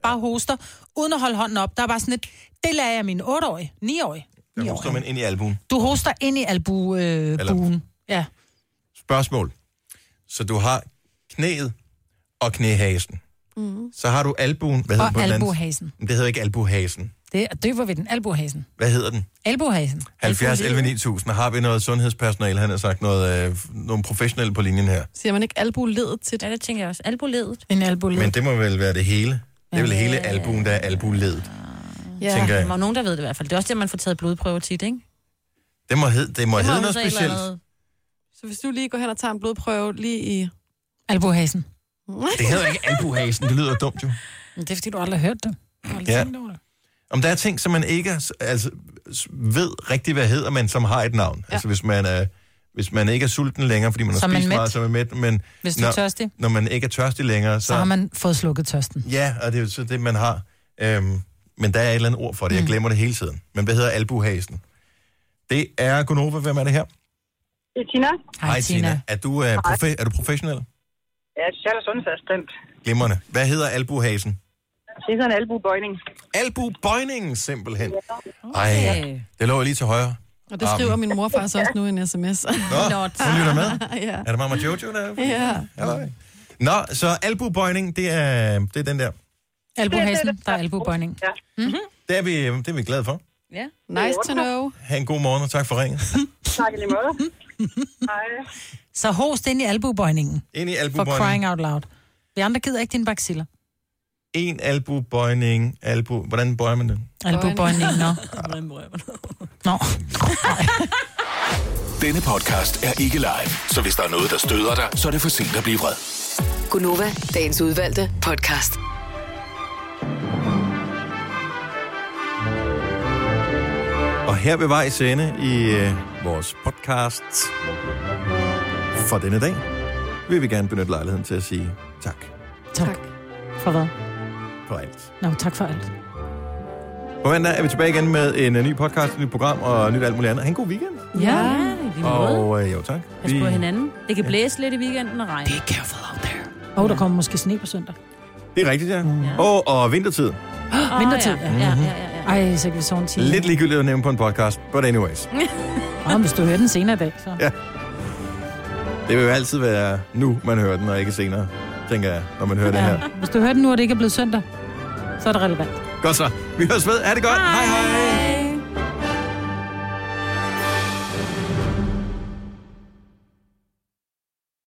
Speaker 3: bare hoster, uden at holde hånden op. Der er bare sådan et, det lader jeg min 8-årige, 9-årige.
Speaker 1: Der hoster man ind i albuen.
Speaker 3: Du hoster ind i albuen. Øh,
Speaker 1: Eller-
Speaker 3: buen. ja.
Speaker 1: Spørgsmål. Så du har knæet og knæhasen. Mm. Så har du albuen. Hvad hedder den på
Speaker 3: Og
Speaker 1: den anden-
Speaker 3: albuhasen.
Speaker 1: Men Det hedder ikke albuhasen.
Speaker 3: Det er døber ved den, albuhasen.
Speaker 1: Hvad hedder den?
Speaker 3: Albuhasen.
Speaker 1: 70 11 9000. Har vi noget sundhedspersonale? Han har sagt noget, øh, nogle professionelle på linjen her.
Speaker 4: Siger man ikke albuledet til
Speaker 2: Ja,
Speaker 4: det?
Speaker 2: det tænker jeg også. Alboledet.
Speaker 3: En albuled.
Speaker 1: Men det må vel være det hele. Det er vel hele albuen, der er albuledet,
Speaker 4: Ja.
Speaker 1: tænker
Speaker 2: Der
Speaker 1: jeg.
Speaker 2: var nogen, der ved det i hvert fald. Det er også det, man får taget blodprøver tit, ikke?
Speaker 1: Det må, hed, det må
Speaker 2: Det må
Speaker 1: hedde
Speaker 2: jo
Speaker 1: noget
Speaker 2: så et eller
Speaker 1: specielt.
Speaker 2: andet-
Speaker 4: Så hvis du lige går hen og tager en blodprøve lige i...
Speaker 3: Albuhasen.
Speaker 1: Det hedder ikke albuhasen. Det lyder dumt jo.
Speaker 3: Men Det er, fordi du aldrig har hørt det. Du har aldrig
Speaker 1: Ja.
Speaker 3: tænkt over det.
Speaker 1: Om der er ting, som man ikke altså, ved rigtigt, hvad hedder, men som har et navn. Ja. Altså hvis man, er, hvis man ikke er sulten længere, fordi man har
Speaker 3: Så er man
Speaker 1: spist
Speaker 3: mæt.
Speaker 1: meget, så er man mæt. Men
Speaker 3: Hvis du
Speaker 1: når,
Speaker 3: er tørstig,
Speaker 1: når man ikke er tørstig længere, så...
Speaker 3: så har man fået slukket tørsten.
Speaker 1: Ja, og det er jo så det, man har. Øhm, men der er et eller andet ord for det.
Speaker 3: Mm.
Speaker 1: Jeg glemmer det hele tiden. Men hvad hedder albuhasen? Det er Gunova. Hvem er det her?
Speaker 9: Det er Tina.
Speaker 1: Er du, øh, profe- er du professionel?
Speaker 9: Ja, social- og sundhedsassistent.
Speaker 1: Glimrende. Hvad hedder albuhasen?
Speaker 9: Det er sådan en albuebøjning.
Speaker 1: Albubøjningen, simpelthen. Ej, det lå lige til højre.
Speaker 4: Og det skriver min mor faktisk også nu i en sms.
Speaker 1: Nå, hun lytter med.
Speaker 4: ja.
Speaker 1: Er det mamma Jojo, der er?
Speaker 4: Ja.
Speaker 1: Halløj. Nå, så albubøjning, det er, det er den der.
Speaker 3: Albuhasen, der er albuebøjning.
Speaker 9: Ja.
Speaker 1: Det er, vi, det er vi glade for.
Speaker 2: Ja.
Speaker 4: Nice to know.
Speaker 1: Ha' en god morgen, og tak for ringen.
Speaker 9: Tak i lige måde. Hej.
Speaker 3: Så host ind i albuebøjningen,
Speaker 1: Ind i
Speaker 3: for crying
Speaker 1: albubøjningen.
Speaker 3: out loud. Vi andre gider ikke dine baxiller.
Speaker 1: En albubøjning. Albu. Hvordan bøjer man den?
Speaker 3: Albuebøjningen, nå. Nå.
Speaker 6: Denne podcast er ikke live, så hvis der er noget, der støder dig, så er det for sent at blive vred.
Speaker 5: Gunova, dagens udvalgte podcast.
Speaker 1: her ved vejs ende i øh, vores podcast for denne dag, vil vi gerne benytte lejligheden til at sige tak
Speaker 3: Tak. For hvad?
Speaker 1: for alt.
Speaker 3: Nå, tak for alt.
Speaker 1: På mandag er vi tilbage igen med en øh, ny podcast, et nyt program og nyt alt muligt andet. Ha' en god weekend.
Speaker 2: Ja, i lige måde.
Speaker 1: Og øh, jo tak.
Speaker 2: Pas på hinanden. Det kan blæse lidt i weekenden og regne.
Speaker 3: Og der kommer måske sne på søndag.
Speaker 1: Det er rigtigt, ja. Og, og vintertid.
Speaker 2: Åh,
Speaker 3: vintertid.
Speaker 2: Ja, ja, ja, ja, ja.
Speaker 3: Ej, så kan vi sove en time.
Speaker 1: Mm. Lidt ligegyldigt at nævne på en podcast, but anyways.
Speaker 3: Åh, hvis du hører den senere i dag, så...
Speaker 1: Ja. Det vil jo altid være nu, man hører den, og ikke senere, tænker jeg, når man hører det her.
Speaker 3: Hvis du hører den nu, og det ikke er blevet søndag, så er det relevant.
Speaker 1: Godt så. Vi høres ved. Ha' det godt. Hej hej. hej.